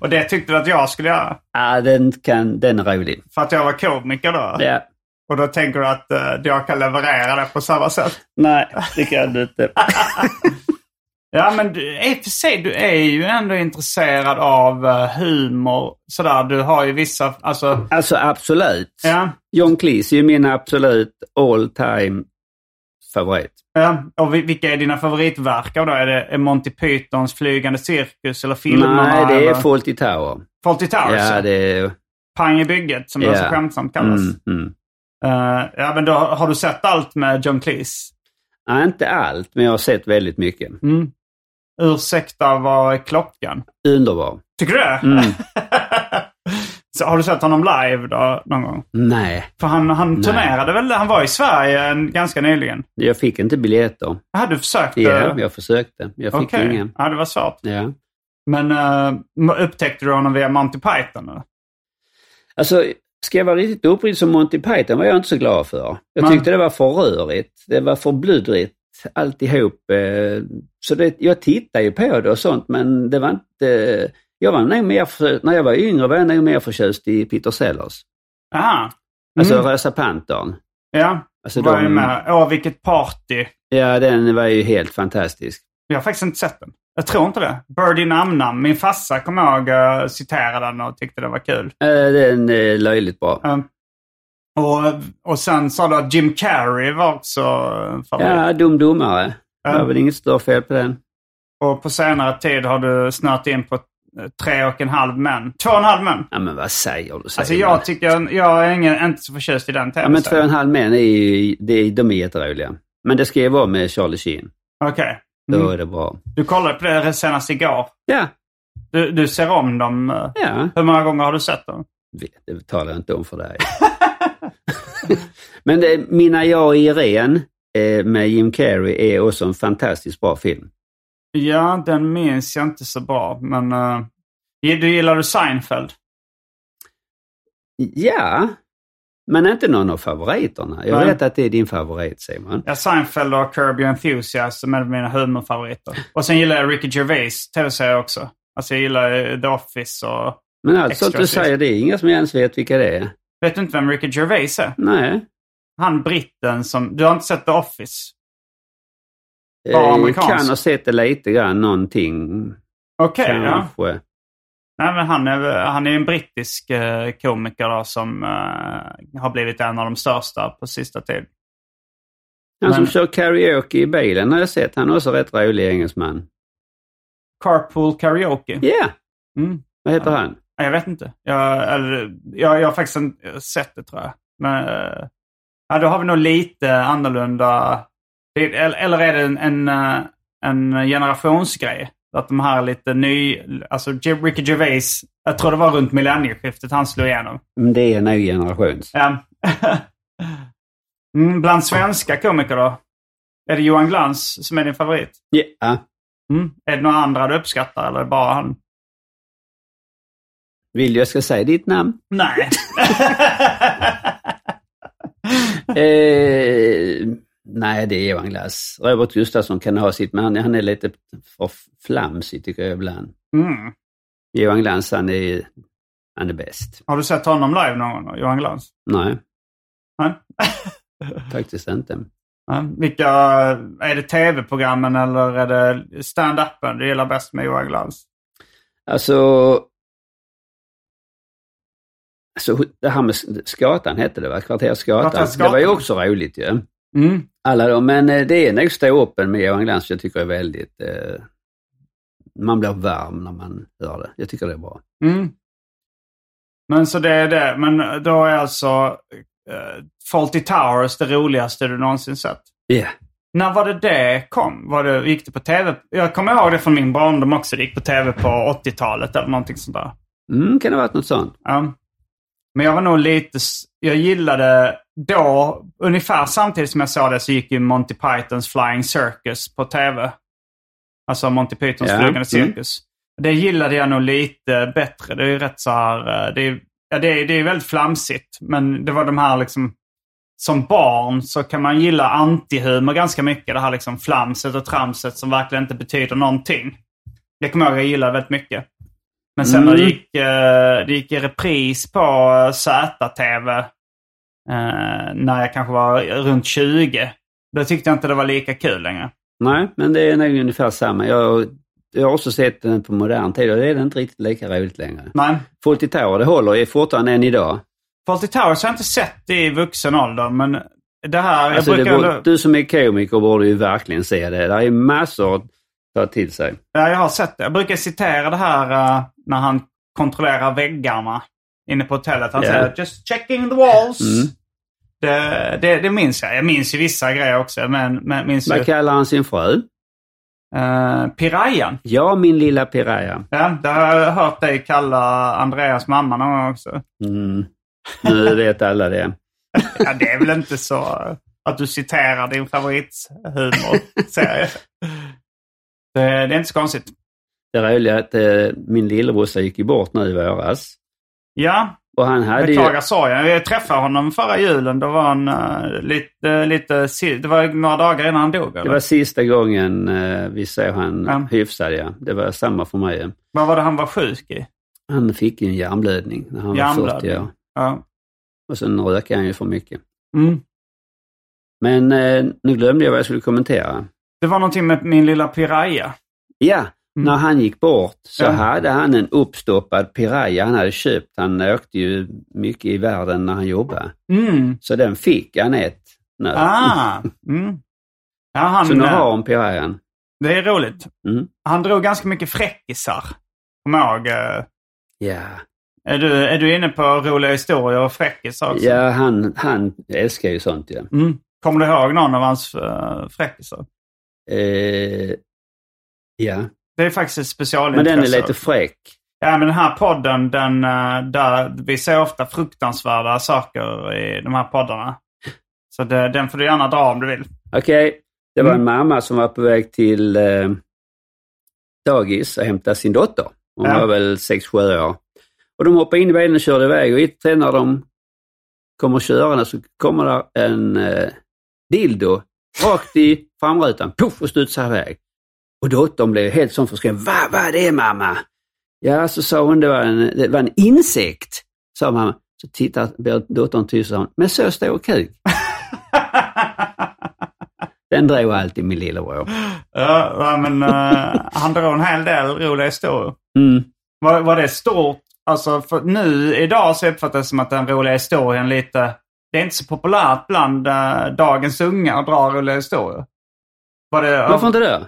Speaker 1: Och det tyckte du att jag skulle göra?
Speaker 3: Ah, den, kan, den är rolig.
Speaker 1: För att jag var komiker då?
Speaker 3: Ja.
Speaker 1: Och då tänker du att eh, jag kan leverera det på samma sätt?
Speaker 3: Nej, det kan
Speaker 1: [laughs]
Speaker 3: du inte.
Speaker 1: Ja, men du, i och för sig, du är ju ändå intresserad av eh, humor. Sådär, du har ju vissa, alltså,
Speaker 3: Alltså absolut.
Speaker 1: ja.
Speaker 3: John Cleese är ju min absolut all time favorit.
Speaker 1: Ja, och vi- vilka är dina favoritverk av då? Är det är Monty Pythons Flygande Cirkus eller filmerna?
Speaker 3: Nej, det är
Speaker 1: eller?
Speaker 3: Fawlty Tower.
Speaker 1: Fawlty Towers?
Speaker 3: Ja, det är...
Speaker 1: Pang i bygget, som det
Speaker 3: Ja.
Speaker 1: så skämtsamt kallas.
Speaker 3: Mm, mm.
Speaker 1: Eh, ja, men då, har du sett allt med John Cleese?
Speaker 3: Nej, inte allt, men jag har sett väldigt mycket.
Speaker 1: Mm. Ursäkta, vad är klockan?
Speaker 3: Underbar.
Speaker 1: Tycker du det?
Speaker 3: Mm.
Speaker 1: [laughs] så har du sett honom live då, någon gång?
Speaker 3: Nej,
Speaker 1: För han, han
Speaker 3: Nej.
Speaker 1: turnerade väl? Han var i Sverige en, ganska nyligen.
Speaker 3: jag fick inte biljetter.
Speaker 1: Jag hade försökt. eh,
Speaker 3: Ja, jag försökte. Jag fick
Speaker 1: Okej.
Speaker 3: ingen.
Speaker 1: Ja, det var svårt.
Speaker 3: Ja.
Speaker 1: Men eh, upptäckte du honom via Monty Python? eller?
Speaker 3: Alltså, ska jag vara riktigt uppriktig som Monty Python var jag inte så glad för. Jag
Speaker 1: Nej.
Speaker 3: tyckte det var för rörigt. Det var för bluddrigt. alltihop. eh, Så det, jag tittade ju på det och sånt, men det var inte... Jag var nog mer, för, när jag var yngre var jag nog mer förtjust i Peter Sellers.
Speaker 1: Aha.
Speaker 3: Alltså
Speaker 1: Mm.
Speaker 3: Röda Pantern.
Speaker 1: Ja,
Speaker 3: Alltså
Speaker 1: var ju
Speaker 3: de-
Speaker 1: med. Åh, vilket party.
Speaker 3: Ja, den var ju helt fantastisk.
Speaker 1: Jag har faktiskt inte sett den. Jag tror inte det. Birdie Namnam. Min farsa kommer ihåg eh, citerade den och tyckte det var kul.
Speaker 3: Eh, Den är löjligt bra.
Speaker 1: Eh, och, och sen sa du att Jim Carrey var också eh, favorit.
Speaker 3: Ja, Dum Dummare. Det var
Speaker 1: Ja.
Speaker 3: väl inget större fel på den.
Speaker 1: Och på senare tid har du snöat in på eh, tre och en halv män. Två och en halv män.
Speaker 3: Ja, men vad säger du? Säger
Speaker 1: Alltså
Speaker 3: man?
Speaker 1: jag tycker, jag är ingen, inte så förtjust i den
Speaker 3: Ja, men två och en
Speaker 1: tv-serien.
Speaker 3: halv män är ju, det är, de är jätteroliga. Men det ska ju vara med Charlie Sheen.
Speaker 1: Okej.
Speaker 3: Då
Speaker 1: Mm.
Speaker 3: är det bra.
Speaker 1: Du kollade på det senast igår.
Speaker 3: Ja,
Speaker 1: Du, du ser om dem. eh.
Speaker 3: ja.
Speaker 1: Hur många gånger har du sett dem?
Speaker 3: Vet, Det talar jag inte om för dig.
Speaker 1: [laughs]
Speaker 3: men eh, Mina jag i Irene eh, med Jim Carrey är också en fantastiskt bra film.
Speaker 1: Ja, den minns jag inte så bra. Men eh, du gillar du Seinfeld?
Speaker 3: Ja, men inte någon av favoriterna. Jag
Speaker 1: Nej.
Speaker 3: vet att det är din favorit, Simon.
Speaker 1: Ja, Seinfeld och Curb Your Enthusiasm är mina humorfavoriter. Och sen gillar jag Ricky Gervais tv-serier också. Alltså jag gillar eh, The Office och...
Speaker 3: Men allt sånt
Speaker 1: Extra
Speaker 3: du
Speaker 1: sist.
Speaker 3: säger, det är inga som ens vet vilka det är.
Speaker 1: Vet du inte vem Ricky Gervais är?
Speaker 3: Nej.
Speaker 1: Han britten som... Du har inte sett The Office? Bara
Speaker 3: Jag
Speaker 1: amerikansk.
Speaker 3: kan ha sett det lite grann, någonting.
Speaker 1: Okej, ja.
Speaker 3: Kanske.
Speaker 1: Nej, men han är, väl- han är en brittisk eh, komiker då, som eh, har blivit en av de största på sista tid.
Speaker 3: Han som
Speaker 1: Men-
Speaker 3: kör karaoke i bilen har jag sett. Han är också rätt rolig engelsman.
Speaker 1: Carpool Karaoke.
Speaker 3: Ja,
Speaker 1: Mm.
Speaker 3: vad heter han?
Speaker 1: Nej, Jag vet inte. Jag, eller, jag, jag har faktiskt inte sett det tror jag. Men, eh, ja, då har vi nog lite annorlunda... det- Eller eller är det en, en, eh, en generationsgrej? Att de här lite ny... Alltså Ge- Ricky Gervais, jag tror det var runt millennieskiftet han slog igenom.
Speaker 3: Men Mm, Det är en ny generations.
Speaker 1: Ja. [laughs] mm, bland svenska komiker då? Är det Johan Glans som är din favorit?
Speaker 3: Ja.
Speaker 1: Mm. Är det några andra du uppskattar eller är det bara han?
Speaker 3: Vill jag ska säga
Speaker 1: [laughs]
Speaker 3: ditt namn?
Speaker 1: Nej.
Speaker 3: eh, nej, det är Johan Glass. Robert Gustafsson kan ha sitt, men han, han är lite för flamsig tycker jag ibland.
Speaker 1: mm.
Speaker 3: Johan Glans, han är, han är bäst.
Speaker 1: Har du sett honom live någon gång, Johan Glans?
Speaker 3: Nej,
Speaker 1: Nej.
Speaker 3: faktiskt inte.
Speaker 1: Ja. Vilka, är det tv-programmen eller är det stand-upen du gillar bäst med Johan Glans?
Speaker 3: Alltså... Alltså det här med Skatan hette det va? Kvarter Skatan.
Speaker 1: Kvarter Skatan.
Speaker 3: Det var ju också roligt ju.
Speaker 1: Mm.
Speaker 3: Alla de, men eh, det är nog ståuppen med Johan Glans jag tycker är väldigt... Eh, man blir varm när man hör det. Jag tycker det är bra.
Speaker 1: Mm. Men så det är det. Men då är alltså eh, Fawlty Towers det roligaste du någonsin sett?
Speaker 3: Ja.
Speaker 1: När var det det kom? Var det, gick det på tv? Jag kommer ihåg det från min barndom också. Det gick på tv på 80-talet eller någonting sånt där.
Speaker 3: Mm, kan det ha varit något sånt?
Speaker 1: Ja. Men jag var nog lite... s- Jag gillade då, ungefär samtidigt som jag såg det, så gick ju Monty Pythons Flying Circus på tv. Alltså Monty Pythons
Speaker 3: Ja,
Speaker 1: flygande
Speaker 3: mm.
Speaker 1: cirkus. Det gillade jag nog lite bättre. Det är ju rätt så här... eh, Det är, ja, det är, det är väldigt flamsigt, men det var de här liksom... Som barn så kan man gilla antihumor ganska mycket. Det här liksom flamset och tramset som verkligen inte betyder någonting. Det kommer jag ihåg jag gillade väldigt mycket. Men sen när det
Speaker 3: Mm.
Speaker 1: gick, eh, det gick i repris på eh, ZTV eh, när jag kanske var runt 20. Då tyckte jag inte det var lika kul längre.
Speaker 3: Nej, men det är nog ungefär samma. Jag, jag har också sett den på modern tid och det är den inte riktigt lika roligt längre.
Speaker 1: Nej.
Speaker 3: Fawlty Tower, det håller ju fortfarande än idag.
Speaker 1: Fawlty Towers har jag inte sett i vuxen ålder, men det här...
Speaker 3: Alltså,
Speaker 1: jag
Speaker 3: det
Speaker 1: brukar
Speaker 3: borde,
Speaker 1: ändå,
Speaker 3: Du som är komiker borde ju verkligen se det. Det är ju massor att ta till sig.
Speaker 1: ja, jag har sett det. Jag brukar citera det här eh, när han kontrollerar väggarna inne på hotellet. Han
Speaker 3: Ja.
Speaker 1: säger “Just checking the walls”.
Speaker 3: Mm.
Speaker 1: Det, det, det minns jag. Jag minns ju vissa grejer också. Men, men minns ju...
Speaker 3: Vad kallar han sin fru?
Speaker 1: eh, Pirayan.
Speaker 3: Ja, min lilla piraya.
Speaker 1: Ja, det har jag hört dig kalla Andreas mamma någon gång också.
Speaker 3: Mm.
Speaker 1: [laughs]
Speaker 3: Nu vet alla det.
Speaker 1: Ja, det är väl inte så att du citerar din
Speaker 3: [laughs]
Speaker 1: favorithumorserie. Det, det är inte så konstigt.
Speaker 3: Det roliga är att eh, min lillebrorsa gick ju bort nu i våras.
Speaker 1: Ja,
Speaker 3: Och han hade ju...
Speaker 1: Beklagar sorgen. Jag träffade honom förra julen. Då var han eh, lite, lite... si- Det var några dagar innan han dog.
Speaker 3: Det
Speaker 1: Eller?
Speaker 3: var sista gången eh, vi såg han
Speaker 1: Ja.
Speaker 3: hyfsad, ja. Det var samma för mig.
Speaker 1: Vad var det han var sjuk i?
Speaker 3: Han fick ju en hjärnblödning när han var 40
Speaker 1: Hjärnblödning.
Speaker 3: år.
Speaker 1: Ja.
Speaker 3: Och sen röker han ju för mycket.
Speaker 1: Mm.
Speaker 3: Men eh, nu glömde jag vad jag skulle kommentera.
Speaker 1: Det var någonting med min lilla piraya.
Speaker 3: Ja, när han gick bort så
Speaker 1: Mm. Ja.
Speaker 3: hade han en uppstoppad piraya han hade köpt. Han åkte ju mycket i världen när han jobbade.
Speaker 1: Mm.
Speaker 3: Så den fick Anette nu.
Speaker 1: Ah. Mm. Ja, han, eh,
Speaker 3: så nu har hon pirayan.
Speaker 1: Det är roligt.
Speaker 3: Mm.
Speaker 1: Han drog ganska mycket fräckisar. Kommer jag ihåg. eh,
Speaker 3: Ja,
Speaker 1: Är du, är du inne på roliga historier och fräckisar också?
Speaker 3: ja han, han älskar ju sånt ja.
Speaker 1: Mm. Kommer du ihåg någon av hans eh, fräckisar?
Speaker 3: Eh, ja,
Speaker 1: Det är faktiskt ett
Speaker 3: men
Speaker 1: specialintresse.
Speaker 3: den är lite fräck.
Speaker 1: Ja, men den här podden, den, eh, där vi ser ofta fruktansvärda saker i de här poddarna. Så det, den får du gärna dra om du vill. [laughs]
Speaker 3: Okej, det var
Speaker 1: Mm.
Speaker 3: en mamma som var på väg till eh, dagis och hämta sin dotter. Hon
Speaker 1: Ja.
Speaker 3: var väl sex sju år. Och de hoppade in i bilen och körde iväg och inte när de kommer körande så kommer där en eh, dildo rakt i framrutan, poff, och studsar iväg. Och dottern blev helt som förskrämd. Vad var det mamma? Ja, så sa hon det var en, det var en insekt, sa mamma. Så tittar blev dottern tyst och sa hon, men så står kuk. Den drog alltid min lillebror.
Speaker 1: Ja, ja, men eh, han drog en hel del roliga historier.
Speaker 3: Mm.
Speaker 1: Var, var det stort? Alltså för nu idag så uppfattas det som att den roliga historien lite... Det är inte så populärt bland eh, dagens unga att dra roliga historier. Var det,
Speaker 3: Varför inte det?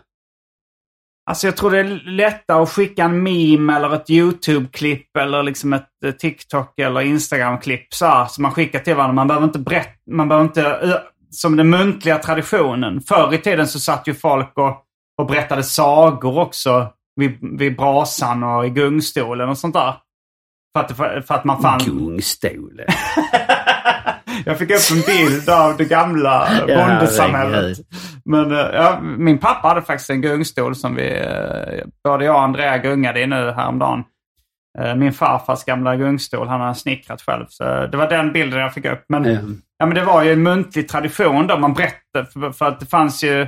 Speaker 1: Alltså jag tror det är lättare att skicka en meme eller ett YouTube-klipp eller liksom ett eh, TikTok eller Instagram-klipp så här, som man skickar till varandra. Man behöver inte berätta, man behöver inte, eh, som den muntliga traditionen. Förr i tiden så satt ju folk och, och berättade sagor också vid, vid brasan och i gungstolen och sånt där. För att, för, för att man fann... [laughs]
Speaker 3: Kungstolen.
Speaker 1: jag fick upp en bild av det gamla
Speaker 3: [laughs] Ja,
Speaker 1: bondesamhället.
Speaker 3: herregud.
Speaker 1: Men eh, ja, min pappa hade faktiskt en gungstol som vi, eh, både jag och Andrea gungade i nu häromdagen. Eh, Min farfars gamla gungstol, han har snickrat själv. Så det var den bilden jag fick upp. Men,
Speaker 3: Ja.
Speaker 1: ja, men det var ju en muntlig tradition då man berättade. För, för att det fanns ju,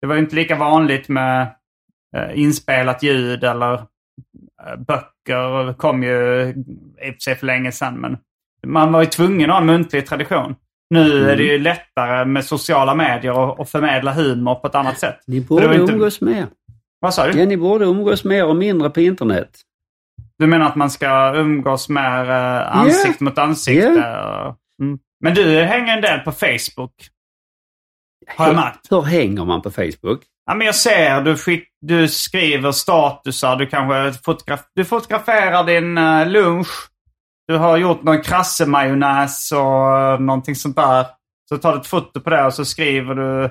Speaker 1: det var ju inte lika vanligt med eh, inspelat ljud eller eh, böcker. Det kom ju i och för sig för länge sedan. Men man var ju tvungen att ha en muntlig tradition. Nu
Speaker 3: Mm.
Speaker 1: är det ju lättare med sociala medier och, och förmedla humor på ett annat sätt.
Speaker 3: Ni
Speaker 1: Det var
Speaker 3: borde
Speaker 1: inte-
Speaker 3: umgås mer.
Speaker 1: Vad sa
Speaker 3: Ja,
Speaker 1: du?
Speaker 3: ni borde umgås mer och mindre på internet.
Speaker 1: Du menar att man ska umgås mer eh, ansikte mot ansikte? och- Mm. Men du hänger en del på Facebook. Har jag märkt.
Speaker 3: Hur hänger man på Facebook?
Speaker 1: Ja, men jag ser, du, skick, du skriver statusar, du kanske fotograf, du fotograferar din eh, lunch. Du har gjort någon krassemajonnäs och uh, någonting sånt där. Så tar du ett foto på det och så skriver du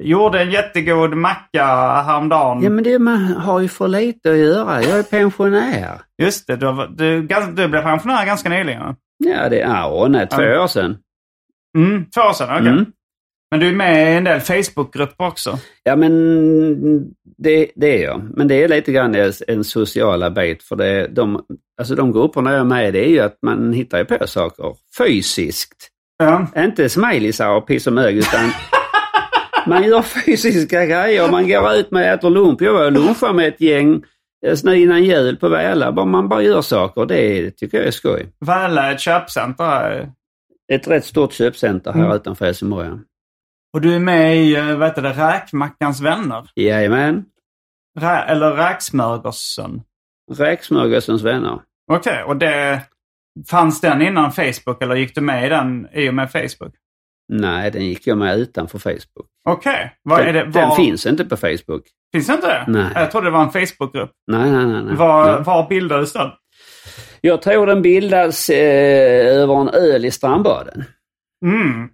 Speaker 1: Gjorde en jättegod macka häromdagen.
Speaker 3: Ja, men det, man har ju för lite att göra. Jag är pensionär.
Speaker 1: Just det, du, har- du, gans- du blev pensionär ganska nyligen. va?
Speaker 3: Ja, det är ja, nej, två
Speaker 1: Ja.
Speaker 3: år sedan.
Speaker 1: Mm, två år sedan, okej.
Speaker 3: Mm.
Speaker 1: Men du är med i en del Facebookgrupper också.
Speaker 3: Ja, men det, det är jag. Men det är lite grann en sociala bit. För det, de, alltså de grupperna jag är med i, det är ju att man hittar ju på saker fysiskt.
Speaker 1: Ja.
Speaker 3: Inte smileysar och piss och
Speaker 1: [laughs]
Speaker 3: mög, utan man gör fysiska grejer. Man går ut med äter lunch. Jag var och lunchade med ett gäng eh, snö innan jul på Väla. Bara- Man bara gör saker. Det tycker jag är skoj.
Speaker 1: Väla är ett köpcenter här.
Speaker 3: Ett rätt stort köpcenter här
Speaker 1: Mm.
Speaker 3: utanför Helsingborg. ja.
Speaker 1: Och du är med i, eh, vad heter det, Räkmackans vänner?
Speaker 3: Jajamän.
Speaker 1: Rä eller räksmörgåsen.
Speaker 3: Räksmörgåsens vänner.
Speaker 1: Okej, och det... Fanns den innan Facebook eller gick du med i den i och med Facebook?
Speaker 3: Nej, den gick jag med utanför Facebook.
Speaker 1: Okej. Vad är det?
Speaker 3: Den,
Speaker 1: var-
Speaker 3: den finns inte på Facebook.
Speaker 1: Finns det inte det?
Speaker 3: Nej.
Speaker 1: Jag trodde det var en Facebookgrupp.
Speaker 3: Nej, nej, nej. nej.
Speaker 1: Var,
Speaker 3: Nej.
Speaker 1: var bildades den?
Speaker 3: Jag tror den bildas eh, över en öl i strandbaden.
Speaker 1: Mm.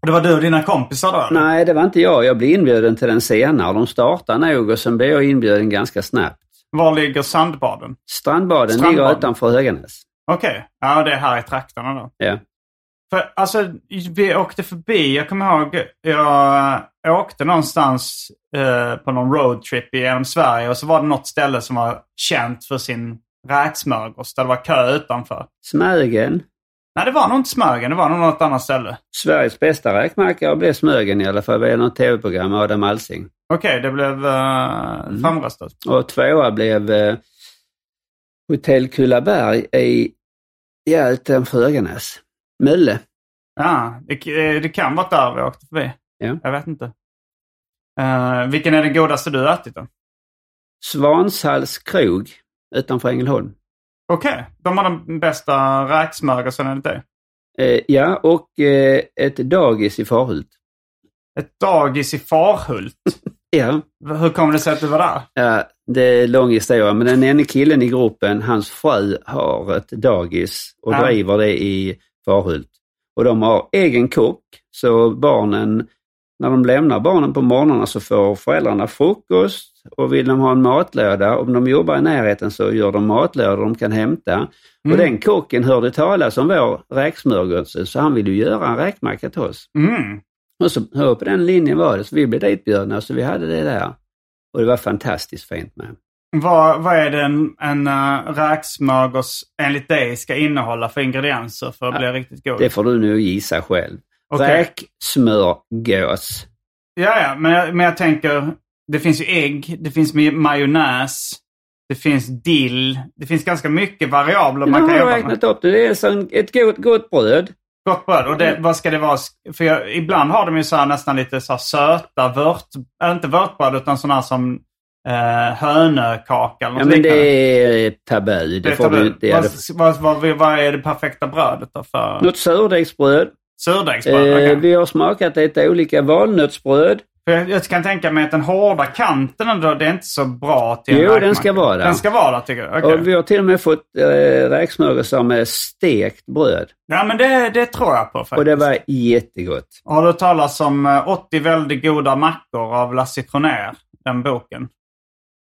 Speaker 1: Och Det var du och dina kompisar då? eller?
Speaker 3: Nej, det var inte jag. Jag blev inbjuden till den senare. De startade nog och sen blev jag inbjuden ganska snabbt.
Speaker 1: Var ligger sandbaden?
Speaker 3: Strandbaden,
Speaker 1: Strandbaden.
Speaker 3: ligger utanför Höganäs.
Speaker 1: Okej. Ja, det är här i trakterna då.
Speaker 3: Ja.
Speaker 1: För alltså, vi åkte förbi, jag kommer ihåg, jag åkte någonstans eh, på någon roadtrip genom Sverige och så var det något ställe som var känt för sin räksmörgås där det var kö utanför.
Speaker 3: Smögen.
Speaker 1: Nej, det var nog inte Smögen. Det var nog något annat ställe.
Speaker 3: Sveriges bästa räkmackare blev Smögen i alla fall. Det är något tv-program med Adam Alsing.
Speaker 1: Okej, det blev eh, framröstat.
Speaker 3: Och tvåa blev eh, Hotell Kullaberg i, ja, utanför Höganäs. Mölle.
Speaker 1: Ja, det, eh, det kan vara där vi åkte förbi.
Speaker 3: Ja.
Speaker 1: Jag vet inte. Eh, vilken är den godaste du ätit då?
Speaker 3: Svanshalls krog utanför Ängelholm.
Speaker 1: Okej, de har den bästa räksmörgåsen enligt dig.
Speaker 3: Eh, ja, och eh, ett dagis i Farhult.
Speaker 1: Ett dagis i Farhult.
Speaker 3: Ja,
Speaker 1: Hur kommer det sig att du var där?
Speaker 3: ja, det är en lång historia, men den ene killen i gruppen, hans fru har ett dagis och
Speaker 1: Ja.
Speaker 3: driver det i Farhult. Och de har egen kock, så barnen, när de lämnar barnen på morgnarna så får föräldrarna frukost och vill de ha en matlåda, om de jobbar i närheten så gör de matlådor de kan hämta. Och den kocken hörde talas om vår räksmörgås, så han ville ju göra en räkmacka till oss.
Speaker 1: Mm.
Speaker 3: Och så hör på den linjen var det, så vi blev ditbjudna så vi hade det där. Och det var fantastiskt fint med.
Speaker 1: Vad, vad är det en, en eh, räksmörgås enligt dig ska innehålla för ingredienser för att bli riktigt god?
Speaker 3: Det får du nu gissa själv.
Speaker 1: Okej.
Speaker 3: Räksmörgås.
Speaker 1: Ja, ja, men jag, men jag tänker, det finns ju ägg, det finns maj- majonnäs, det finns dill. Det finns ganska mycket variabler
Speaker 3: Nu
Speaker 1: man
Speaker 3: har
Speaker 1: kan
Speaker 3: jag
Speaker 1: jobba med.
Speaker 3: räknat upp det. Det är som ett gott, gott bröd.
Speaker 1: Gott bröd. Och det, vad ska det vara? För jag, ibland har de ju så här, nästan lite så här söta vört... Äh, inte vörtbröd utan sådana här som eh, hönökaka eller
Speaker 3: Ja,
Speaker 1: något
Speaker 3: men det
Speaker 1: liknande.
Speaker 3: är tabu. Det
Speaker 1: Det är
Speaker 3: får du
Speaker 1: tabu.
Speaker 3: inte. ja,
Speaker 1: vad,
Speaker 3: det-
Speaker 1: vad, vad, vad är det perfekta brödet då för?
Speaker 3: Något surdegsbröd.
Speaker 1: Surdegsbröd?
Speaker 3: Eh,
Speaker 1: okej.
Speaker 3: vi har smakat lite olika valnötsbröd.
Speaker 1: För jag, jag kan tänka mig att den hårda kanten ändå, det är inte så bra till en
Speaker 3: Jo, den
Speaker 1: räkmacka.
Speaker 3: ska vara där.
Speaker 1: Den ska vara där tycker du? Okej.
Speaker 3: Och vi har till och med fått eh, räksmörgåsar med stekt bröd.
Speaker 1: Ja, men det, det tror jag på faktiskt.
Speaker 3: Och det var jättegott.
Speaker 1: Har du talat om eh, 80 väldigt goda mackor av Lasse Kronér? Den boken.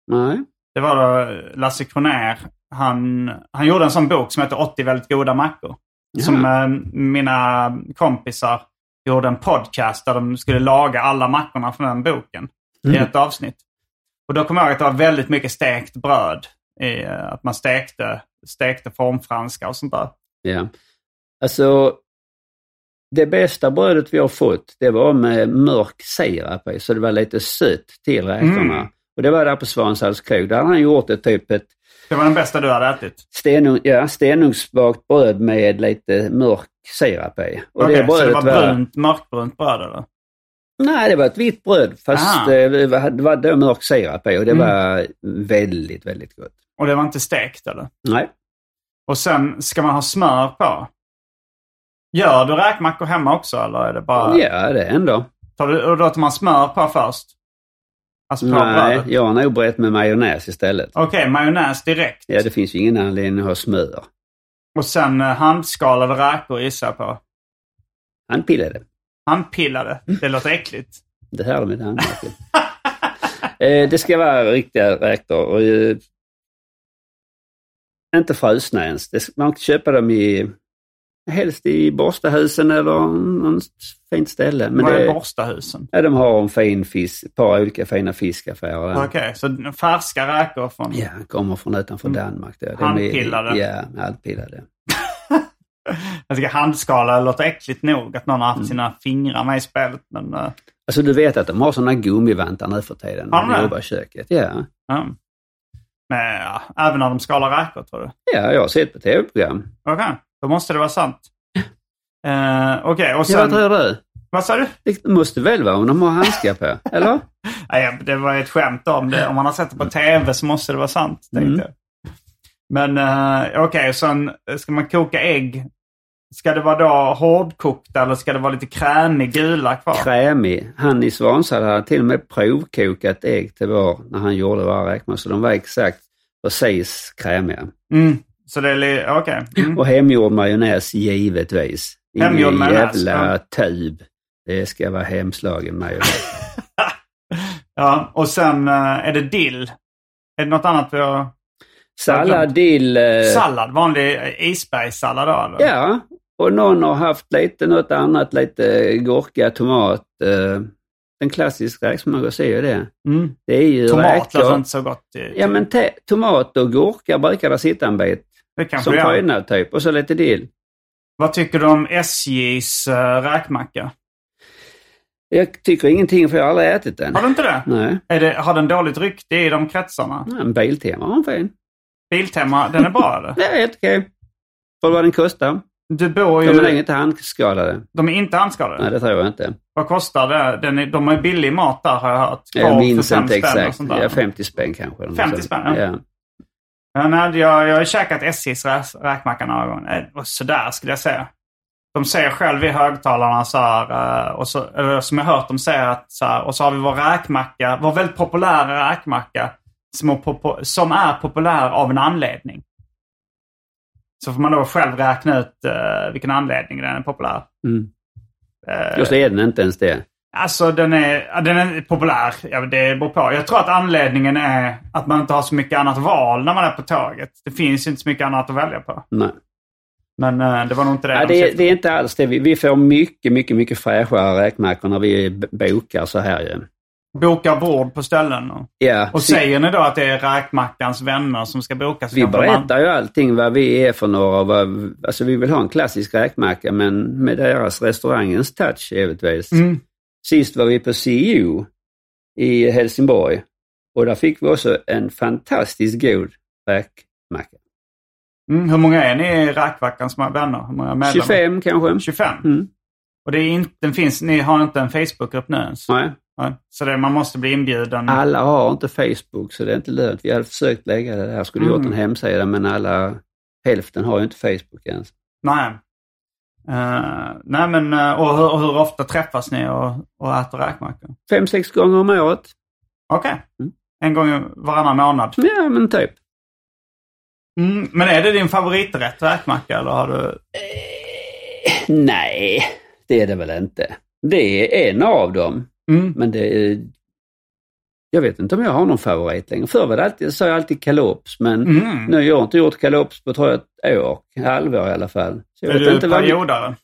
Speaker 3: Nej.
Speaker 1: Det var då Lasse Kronér. Han, han gjorde en sån bok som heter 80 väldigt goda mackor. Som eh, mina kompisar gjorde en podcast där de skulle laga alla mackorna från den boken.
Speaker 3: Mm.
Speaker 1: I ett avsnitt. Och då kommer jag ihåg att det var väldigt mycket stekt bröd. I, eh, att man stekte, stekte formfranska och sånt där.
Speaker 3: Ja. Alltså, det bästa brödet vi har fått, det var med mörk sirap i, så det var lite sött till räkorna.
Speaker 1: Mm.
Speaker 3: Och det var där på Svanshalls krog. Där hade han gjort ett typ ett
Speaker 1: Det var den bästa du hade ätit.
Speaker 3: stenung, ja, stenugnsbakt bröd med lite mörk sirap i. Och
Speaker 1: Okej,
Speaker 3: det brödet
Speaker 1: så det var brunt, mörkbrunt bröd eller?
Speaker 3: Nej, det var ett vitt bröd, fast
Speaker 1: Ah.
Speaker 3: eh, det var, det var då mörk sirap i och det
Speaker 1: Mm.
Speaker 3: var väldigt, väldigt gott.
Speaker 1: Och det var inte stekt eller?
Speaker 3: Nej.
Speaker 1: Och sen ska man ha smör på. Gör du räkmackor hemma också eller är det bara...
Speaker 3: Ja, det ändå.
Speaker 1: Tar du, och då tar man smör på först? Alltså på
Speaker 3: Nej,
Speaker 1: brödet?
Speaker 3: jag har nog brett med majonnäs istället.
Speaker 1: Okej, majonnäs direkt.
Speaker 3: Ja, det finns ju ingen anledning att ha smör.
Speaker 1: Och sen eh, handskalade räkor gissar jag på.
Speaker 3: Han pillade.
Speaker 1: Handpillade.
Speaker 3: Mm.
Speaker 1: Det låter äckligt.
Speaker 3: Det här är mitt handmärke. [laughs] eh, det ska vara riktiga räkor. Och, eh, inte frusna ens. Det, man kan köpa dem i, helst i borstahusen eller någon fint ställe. [laughs] Men
Speaker 1: Vad
Speaker 3: det,
Speaker 1: är borstahusen?
Speaker 3: ja, de har en fin fisk, ett par olika fina fiskaffärer. där.
Speaker 1: Okej, Mm. så färska räkor från...
Speaker 3: Ja, kommer från utanför Danmark. Då. De är-
Speaker 1: Handpillade.
Speaker 3: Ja, handpillade.
Speaker 1: Jag tycker handskalade låter äckligt nog. Att någon har
Speaker 3: Mm.
Speaker 1: haft sina fingrar med i spelet. Men, eh,
Speaker 3: Alltså du vet att de har sådana gummivantar nu för tiden
Speaker 1: Har de
Speaker 3: när
Speaker 1: det?
Speaker 3: de jobbar i köket. Ja.
Speaker 1: ja. men ja, även när de skalar räkor tror du?
Speaker 3: ja, jag har sett på tv-program.
Speaker 1: Okej, då måste det vara
Speaker 3: [laughs]
Speaker 1: sant. Eh, Okej, och
Speaker 3: Ja,
Speaker 1: sen...
Speaker 3: vad tror du?
Speaker 1: vad sa du?
Speaker 3: Det måste väl vara om de har handskar på, eller?
Speaker 1: Nej, det var ett skämt om det. Om man har sett det på tv så måste det vara sant, tänkte
Speaker 3: Mm.
Speaker 1: jag. Men eh, okej, sen eh, ska man koka ägg. Ska det vara då hårdkokta eller ska det vara lite krämig gula kvar?
Speaker 3: Krämig. Han i Svanshall hade till och med provkokat ägg till vår, när han gjorde våra räkmor, så de var exakt precis krämiga.
Speaker 1: Mm. Så det är li-
Speaker 3: [laughs]
Speaker 1: okej. Mm.
Speaker 3: Och hemgjord majonnäs givetvis. Ingen
Speaker 1: Hemgjord majonnäs,
Speaker 3: jävla
Speaker 1: ja.
Speaker 3: tub. Det ska vara
Speaker 1: [laughs]
Speaker 3: hemslagen majonnäs.
Speaker 1: Ja, och sen eh, är det dill. Är det något annat vi har?
Speaker 3: Sallad, dill... eh,
Speaker 1: Sallad, vanlig eh, isbergssallad då? Eller?
Speaker 3: Ja, och någon har haft lite något annat, lite gurka, tomat, eh, den klassiska räksmörgås är ju det.
Speaker 1: Mm.
Speaker 3: Det är ju
Speaker 1: Tomat alltså
Speaker 3: räkor.
Speaker 1: låter inte så gott. eh, i-
Speaker 3: Ja, men te- tomat och gurka brukar det sitta en bit.
Speaker 1: det kanske
Speaker 3: Som
Speaker 1: det gör.
Speaker 3: prydnad typ. Och så lite dill.
Speaker 1: Vad tycker du om SJs eh, räkmacka?
Speaker 3: Jag tycker ingenting för jag har aldrig ätit den.
Speaker 1: Har du inte det?
Speaker 3: Nej.
Speaker 1: Är det har den dåligt rykte i de kretsarna?
Speaker 3: Nej, En Biltema var en fin.
Speaker 1: Biltema, den är bra eller?
Speaker 3: Det är helt okej. För vad den kostar.
Speaker 1: Du bor
Speaker 3: De är nog
Speaker 1: ju...
Speaker 3: inte handskadade.
Speaker 1: De är inte handskadade?
Speaker 3: Nej, det tror jag inte.
Speaker 1: Vad kostar det? Den är, de har ju billig mat där har jag hört. Korv
Speaker 3: Jag
Speaker 1: för
Speaker 3: minns
Speaker 1: fem
Speaker 3: inte
Speaker 1: spänn och
Speaker 3: exakt.
Speaker 1: sånt där.
Speaker 3: Ja, 50 spänn kanske. eller något
Speaker 1: 50
Speaker 3: sånt.
Speaker 1: spänn, ja.
Speaker 3: ja.
Speaker 1: Ja, nej, jag, jag har käkat SJs rä- räkmacka några gånger. Eh, Och sådär skulle jag säga. De säger själv i högtalarna så här, eh, och så, eller som jag hört dem säga att så här, och så har vi vår räkmacka, vår väldigt populära räkmacka som är, popo- som är populär av en anledning. Så får man då själv räkna ut eh, vilken anledning den är populär.
Speaker 3: Mm.
Speaker 1: Eh,
Speaker 3: Och så är den inte ens det.
Speaker 1: Alltså den är, ja, den är populär. Ja, det beror på. Jag tror att anledningen är att man inte har så mycket annat val när man är på tåget. Det finns inte så mycket annat att välja på.
Speaker 3: Nej.
Speaker 1: Men eh, det var nog inte det de
Speaker 3: Ja, det, är,
Speaker 1: syftade
Speaker 3: det är inte alls det. Vi, vi får mycket, mycket, mycket fräschare räkmackor när vi b- bokar så här ju.
Speaker 1: på. Bokar bord på ställen. Och,
Speaker 3: Ja,
Speaker 1: och
Speaker 3: så-
Speaker 1: säger ni då att det är räkmackans vänner som ska boka? så
Speaker 3: vi
Speaker 1: kanske de an-
Speaker 3: berättar ju allting vad vi är för några. och Vad, alltså vi vill ha en klassisk räkmacka men med deras restaurangens touch givetvis.
Speaker 1: Mm.
Speaker 3: Sist var vi på CEO i Helsingborg och där fick vi också en fantastiskt god räkmacka.
Speaker 1: Mm, hur många är ni i räkmackans vänner? Hur många medlemmar?
Speaker 3: 25 kanske?
Speaker 1: 25?
Speaker 3: Mm.
Speaker 1: Och det är inte, den finns, ni har inte en Facebookgrupp nu ens?
Speaker 3: Nej.
Speaker 1: Nej. Så det, man måste bli inbjuden?
Speaker 3: Alla har inte Facebook så det är inte lönt. Vi hade försökt lägga det där, skulle gjort en hemsida men alla, hälften har ju inte Facebook ens.
Speaker 1: Nej. Eh, nej men, eh, och hur, och hur ofta träffas ni och, och äter räkmackor?
Speaker 3: Fem, sex gånger om året.
Speaker 1: Okej.
Speaker 3: Mm.
Speaker 1: En gång i- varannan månad.
Speaker 3: Ja men typ.
Speaker 1: Mm, men är det din favoriträtt, räkmacka? Eller har du...
Speaker 3: Nej, det är det väl inte. Det är en av dem,
Speaker 1: Mm.
Speaker 3: men det är... Jag vet inte om jag har någon favorit längre. Förr var det alltid, sa jag alltid kalops, men
Speaker 1: Mm.
Speaker 3: nu har jag inte gjort kalops på tror jag ett år, halvår i alla fall. Så jag
Speaker 1: Är
Speaker 3: vet
Speaker 1: du
Speaker 3: inte vad-
Speaker 1: periodare?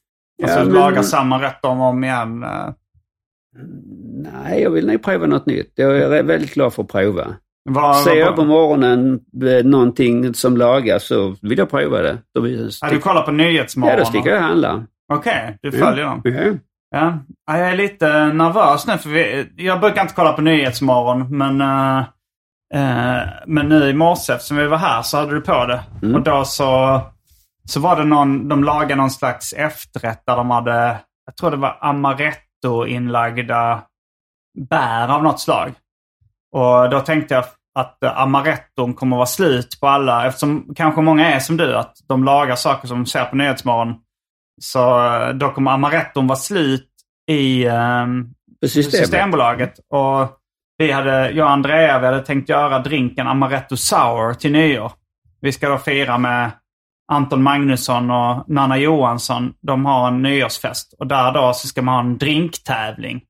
Speaker 1: Alltså
Speaker 3: Ja, men-
Speaker 1: lagar samma rätt om och om igen? eh,
Speaker 3: Nej, jag vill nog prova något nytt. Jag är väldigt glad för att prova.
Speaker 1: vad-
Speaker 3: Ser
Speaker 1: vad-
Speaker 3: jag på morgonen eh, någonting som lagas så vill jag prova det. Då vill jag
Speaker 1: Ja, du
Speaker 3: sticka...
Speaker 1: kollar på
Speaker 3: Ja,
Speaker 1: Nyhetsmorgon?
Speaker 3: då sticker jag Mm. och handlar.
Speaker 1: Okej, du följer dem.
Speaker 3: Ja.
Speaker 1: Ja. Ja, jag är lite nervös nu för vi, jag brukar inte kolla på Nyhetsmorgon men, eh, eh, men nu i morse eftersom vi var här så hade du på det. Och då så, så var det någon, de lagade någon slags efterrätt där de hade, jag tror det var amaretto inlagda bär av något slag. Och då tänkte jag att eh, amaretton kommer vara slut på alla eftersom kanske många är som du att de lagar saker som de ser på Nyhetsmorgon. Så eh, då kommer amaretton vara slut i ehm,
Speaker 3: På systemet.
Speaker 1: Systembolaget. Och vi hade, jag och Andrea vi hade tänkt göra drinken Amaretto Sour till nyår. Vi ska då fira med Anton Magnusson och Nanna Johansson. De har en nyårsfest. Och där då så ska man ha en drinktävling.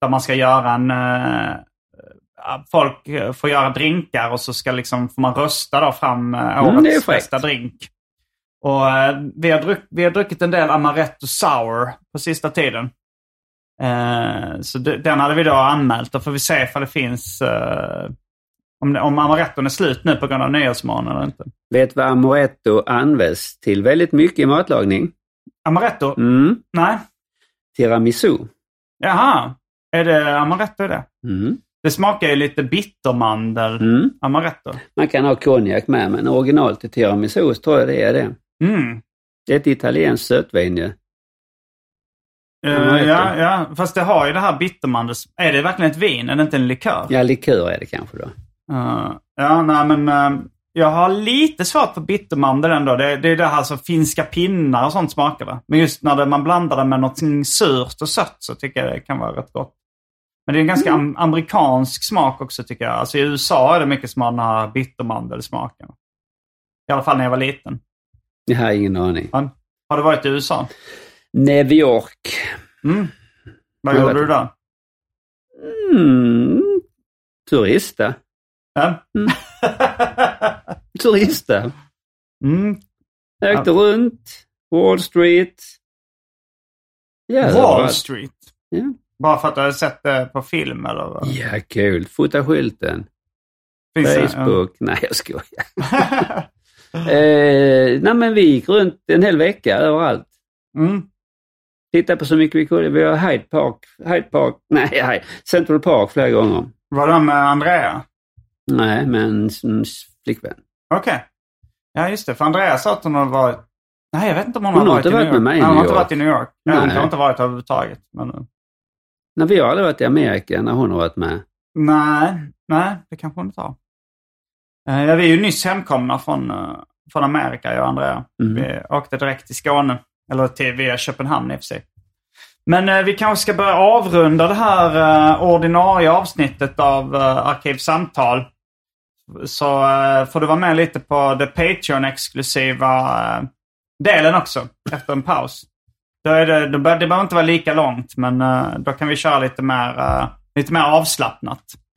Speaker 1: Där man ska göra en... eh, folk eh, får göra drinkar och så ska liksom, får man rösta då fram eh,
Speaker 3: Mm, det är
Speaker 1: årets
Speaker 3: fräckt.
Speaker 1: bästa drink. Och eh, vi, har druck, vi har druckit en del Amaretto Sour på sista tiden. Eh, så de- den hade vi då anmält. Då får vi se ifall det finns... Eh, om, det- om amaretton är slut nu på grund av Nyhetsmorgon eller inte.
Speaker 3: Vet vad amaretto används till väldigt mycket i matlagning?
Speaker 1: Amaretto?
Speaker 3: Mm.
Speaker 1: Nej.
Speaker 3: Tiramisu.
Speaker 1: Jaha. Är det amaretto i det?
Speaker 3: Mm.
Speaker 1: Det smakar ju lite bittermandel.
Speaker 3: Mm.
Speaker 1: Amaretto.
Speaker 3: Man kan ha konjak med, men original till tiramisu tror jag det är det.
Speaker 1: Mm.
Speaker 3: Det är ett italienskt sötvin ju.
Speaker 1: Eh,
Speaker 3: Amaretto.
Speaker 1: ja, ja, fast det har ju det här bittermandels... Är det verkligen ett vin? Är det inte en likör?
Speaker 3: Ja, likör är det kanske då.
Speaker 1: Eh, ja, nej men eh, jag har lite svårt för bittermandel ändå. Det, det är det här som finska pinnar och sånt smakar va? Men just när det, man blandar det med något surt och sött så tycker jag det kan vara rätt gott. Men det är en ganska
Speaker 3: Mm.
Speaker 1: am- amerikansk smak också tycker jag. Alltså i USA är det mycket som har den här bittermandelsmaken. I alla fall när jag var liten.
Speaker 3: Jag har ingen aning.
Speaker 1: Ja. Har du varit i USA?
Speaker 3: New York.
Speaker 1: Mm. Vad
Speaker 3: Jag
Speaker 1: gjorde
Speaker 3: vet
Speaker 1: du där?
Speaker 3: Mm. Turista.
Speaker 1: Ja.
Speaker 3: Mm. Turista.
Speaker 1: [laughs] Mm.
Speaker 3: Jag åkte runt. Wall Street. Ja,
Speaker 1: Wall
Speaker 3: överallt.
Speaker 1: Street.
Speaker 3: Ja.
Speaker 1: Bara för att du hade sett det på film eller? vad?
Speaker 3: Ja, kul. Fota skylten.
Speaker 1: Finns det- [laughs]
Speaker 3: Facebook. Nej, jag skojar. eh, nej, men vi gick runt en hel vecka överallt.
Speaker 1: Mm.
Speaker 3: Tittade på så mycket vi kunde. Vi var i Hyde Park, Hyde Park, [laughs] nej, Hyde- Central Park flera gånger.
Speaker 1: Var det med Andrea?
Speaker 3: Nej, men mm, flickvän.
Speaker 1: Okej. Ja, just det. För Andrea sa att hon har varit... Nej, jag vet inte om hon,
Speaker 3: Hon
Speaker 1: har varit
Speaker 3: har inte
Speaker 1: i
Speaker 3: varit
Speaker 1: New York.
Speaker 3: med mig i
Speaker 1: Nej, hon har inte
Speaker 3: New York.
Speaker 1: varit i New York. Nej. Hon
Speaker 3: Nej.
Speaker 1: har inte varit överhuvudtaget. Men...
Speaker 3: Nej, vi har aldrig varit i Amerika när hon har varit med.
Speaker 1: Nej, nej, det kanske hon inte har. Eh, Ja, vi är ju nyss hemkomna från, eh, från Amerika, jag och Andrea.
Speaker 3: Mm.
Speaker 1: Vi åkte direkt till Skåne, eller till, via Köpenhamn i och för sig. Men eh, vi kanske ska börja avrunda det här eh, ordinarie avsnittet av eh, Arkivsamtal. Så eh, får du vara med lite på det Patreon-exklusiva eh, delen också, efter en paus. Då är det, då bör, det behöver inte vara lika långt, men eh, då kan vi köra lite mer, eh, lite mer avslappnat.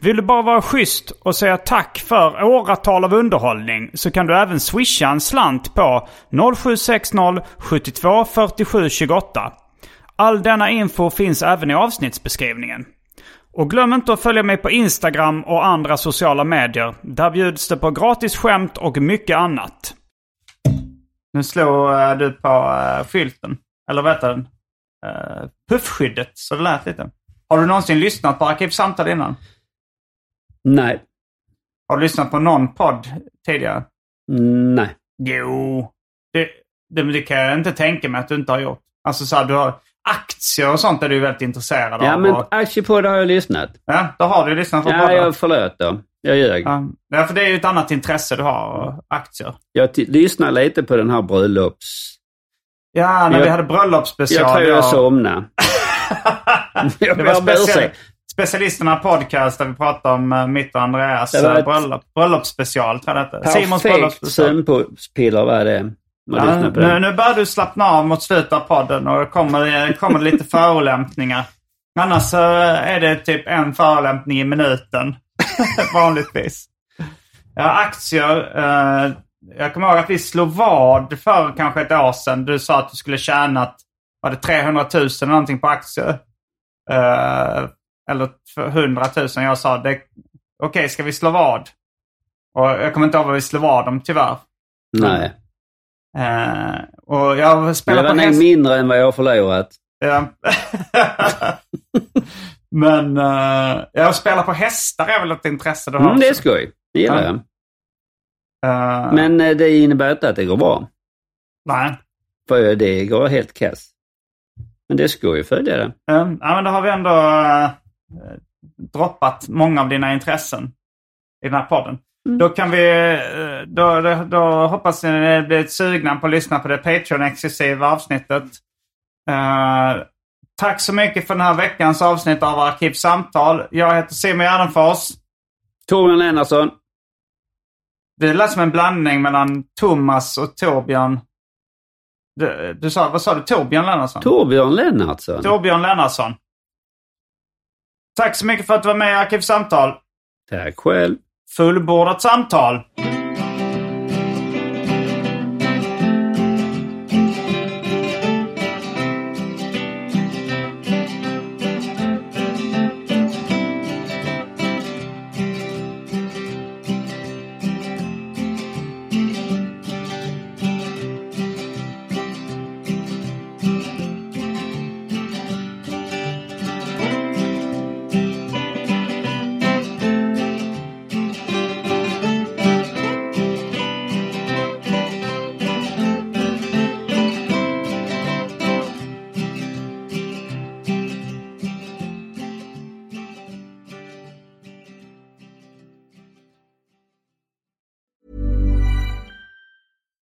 Speaker 1: Vill du bara vara schysst och säga tack för åratal av underhållning så kan du även swisha en slant på 0760 72 47 28. All denna info finns även i avsnittsbeskrivningen. Och glöm inte att följa mig på Instagram och andra sociala medier. Där bjuds det på gratis skämt och mycket annat. Nu slår eh, du på eh, skylten. Eller vad heter den? Eh, puffskyddet, så det lät lite. Har du någonsin lyssnat på Arkivsamtal innan?
Speaker 3: Nej,
Speaker 1: Har du lyssnat på någon podd tidigare?
Speaker 3: nej.
Speaker 1: Jo. Det, det, det kan jag inte tänka mig att du inte har gjort. Alltså så här, du har aktier och sånt är du ju väldigt intresserad
Speaker 3: Ja,
Speaker 1: av.
Speaker 3: men
Speaker 1: och,
Speaker 3: aktiepodd har jag lyssnat.
Speaker 1: ja, då har du lyssnat på
Speaker 3: Ja,
Speaker 1: båda.
Speaker 3: jag förlåt då. Jag ljög.
Speaker 1: Ja. ja, för det är ju ett annat intresse du har, aktier.
Speaker 3: Jag t- lyssnade lite på den här bröllops...
Speaker 1: Ja, när
Speaker 3: Jag-
Speaker 1: vi hade bröllopsspecial.
Speaker 3: Jag tror jag
Speaker 1: då-
Speaker 3: somnade.
Speaker 1: [laughs]
Speaker 3: [laughs] jag
Speaker 1: Det
Speaker 3: ber
Speaker 1: var
Speaker 3: om
Speaker 1: speciell,
Speaker 3: ursäkt.
Speaker 1: specialisterna podcast där vi pratade om eh, mitt och Andreas
Speaker 3: Det var
Speaker 1: eh,
Speaker 3: ett-
Speaker 1: bröllop, bröllopsspecial. Tror jag det hette. Simons
Speaker 3: Perfekt
Speaker 1: bröllopsspecial.
Speaker 3: sömnpiller var det. Man
Speaker 1: Ja,
Speaker 3: lyssnar på
Speaker 1: nu,
Speaker 3: det.
Speaker 1: nu börjar du slappna av mot slutet av podden och det kommer, det kommer lite förolämpningar. Annars eh, är det typ en förolämpning i minuten. [laughs] Vanligtvis. Ja, aktier. eh, Jag kommer ihåg att vi slog vad för kanske ett år sedan. Du sa att du skulle tjäna var det 300 000 eller någonting på aktier. Eh, Eller 100 000. Jag sa det. Okej, ska vi slå vad? Och jag kommer inte ihåg vad vi slog vad om tyvärr.
Speaker 3: Nej,
Speaker 1: Eh, och jag
Speaker 3: men det
Speaker 1: spelar
Speaker 3: var
Speaker 1: på
Speaker 3: nog
Speaker 1: häst.
Speaker 3: mindre än vad jag har förlorat.
Speaker 1: Ja. [laughs] Men eh, jag spelar på hästar är väl ett intresse du har?
Speaker 3: Mm, det är
Speaker 1: också.
Speaker 3: skoj. Det gillar
Speaker 1: Ja.
Speaker 3: jag.
Speaker 1: Eh,
Speaker 3: Men eh, det innebär inte att det går bra.
Speaker 1: Nej.
Speaker 3: För det går helt kass. Men det är skoj att följa det.
Speaker 1: Eh, ja, men då har vi ändå eh, droppat många av dina intressen i den här podden.
Speaker 3: Mm.
Speaker 1: Då kan vi, eh, då, då, då hoppas ni ni blir sugna på att lyssna på det Patreon-exklusiva avsnittet. Eh, tack så mycket för den här veckans avsnitt av Arkivsamtal. Jag heter Simon Gärdenfors.
Speaker 3: Torbjörn Lennartsson.
Speaker 1: Det lät som en blandning mellan Thomas och Torbjörn. Du, du sa, vad sa du? Torbjörn Lennartsson?
Speaker 3: Torbjörn Lennartsson.
Speaker 1: Torbjörn Lennartsson. Tack så mycket för att du var med i Arkivsamtal.
Speaker 3: Tack själv.
Speaker 1: Fullbordat samtal.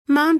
Speaker 5: Mom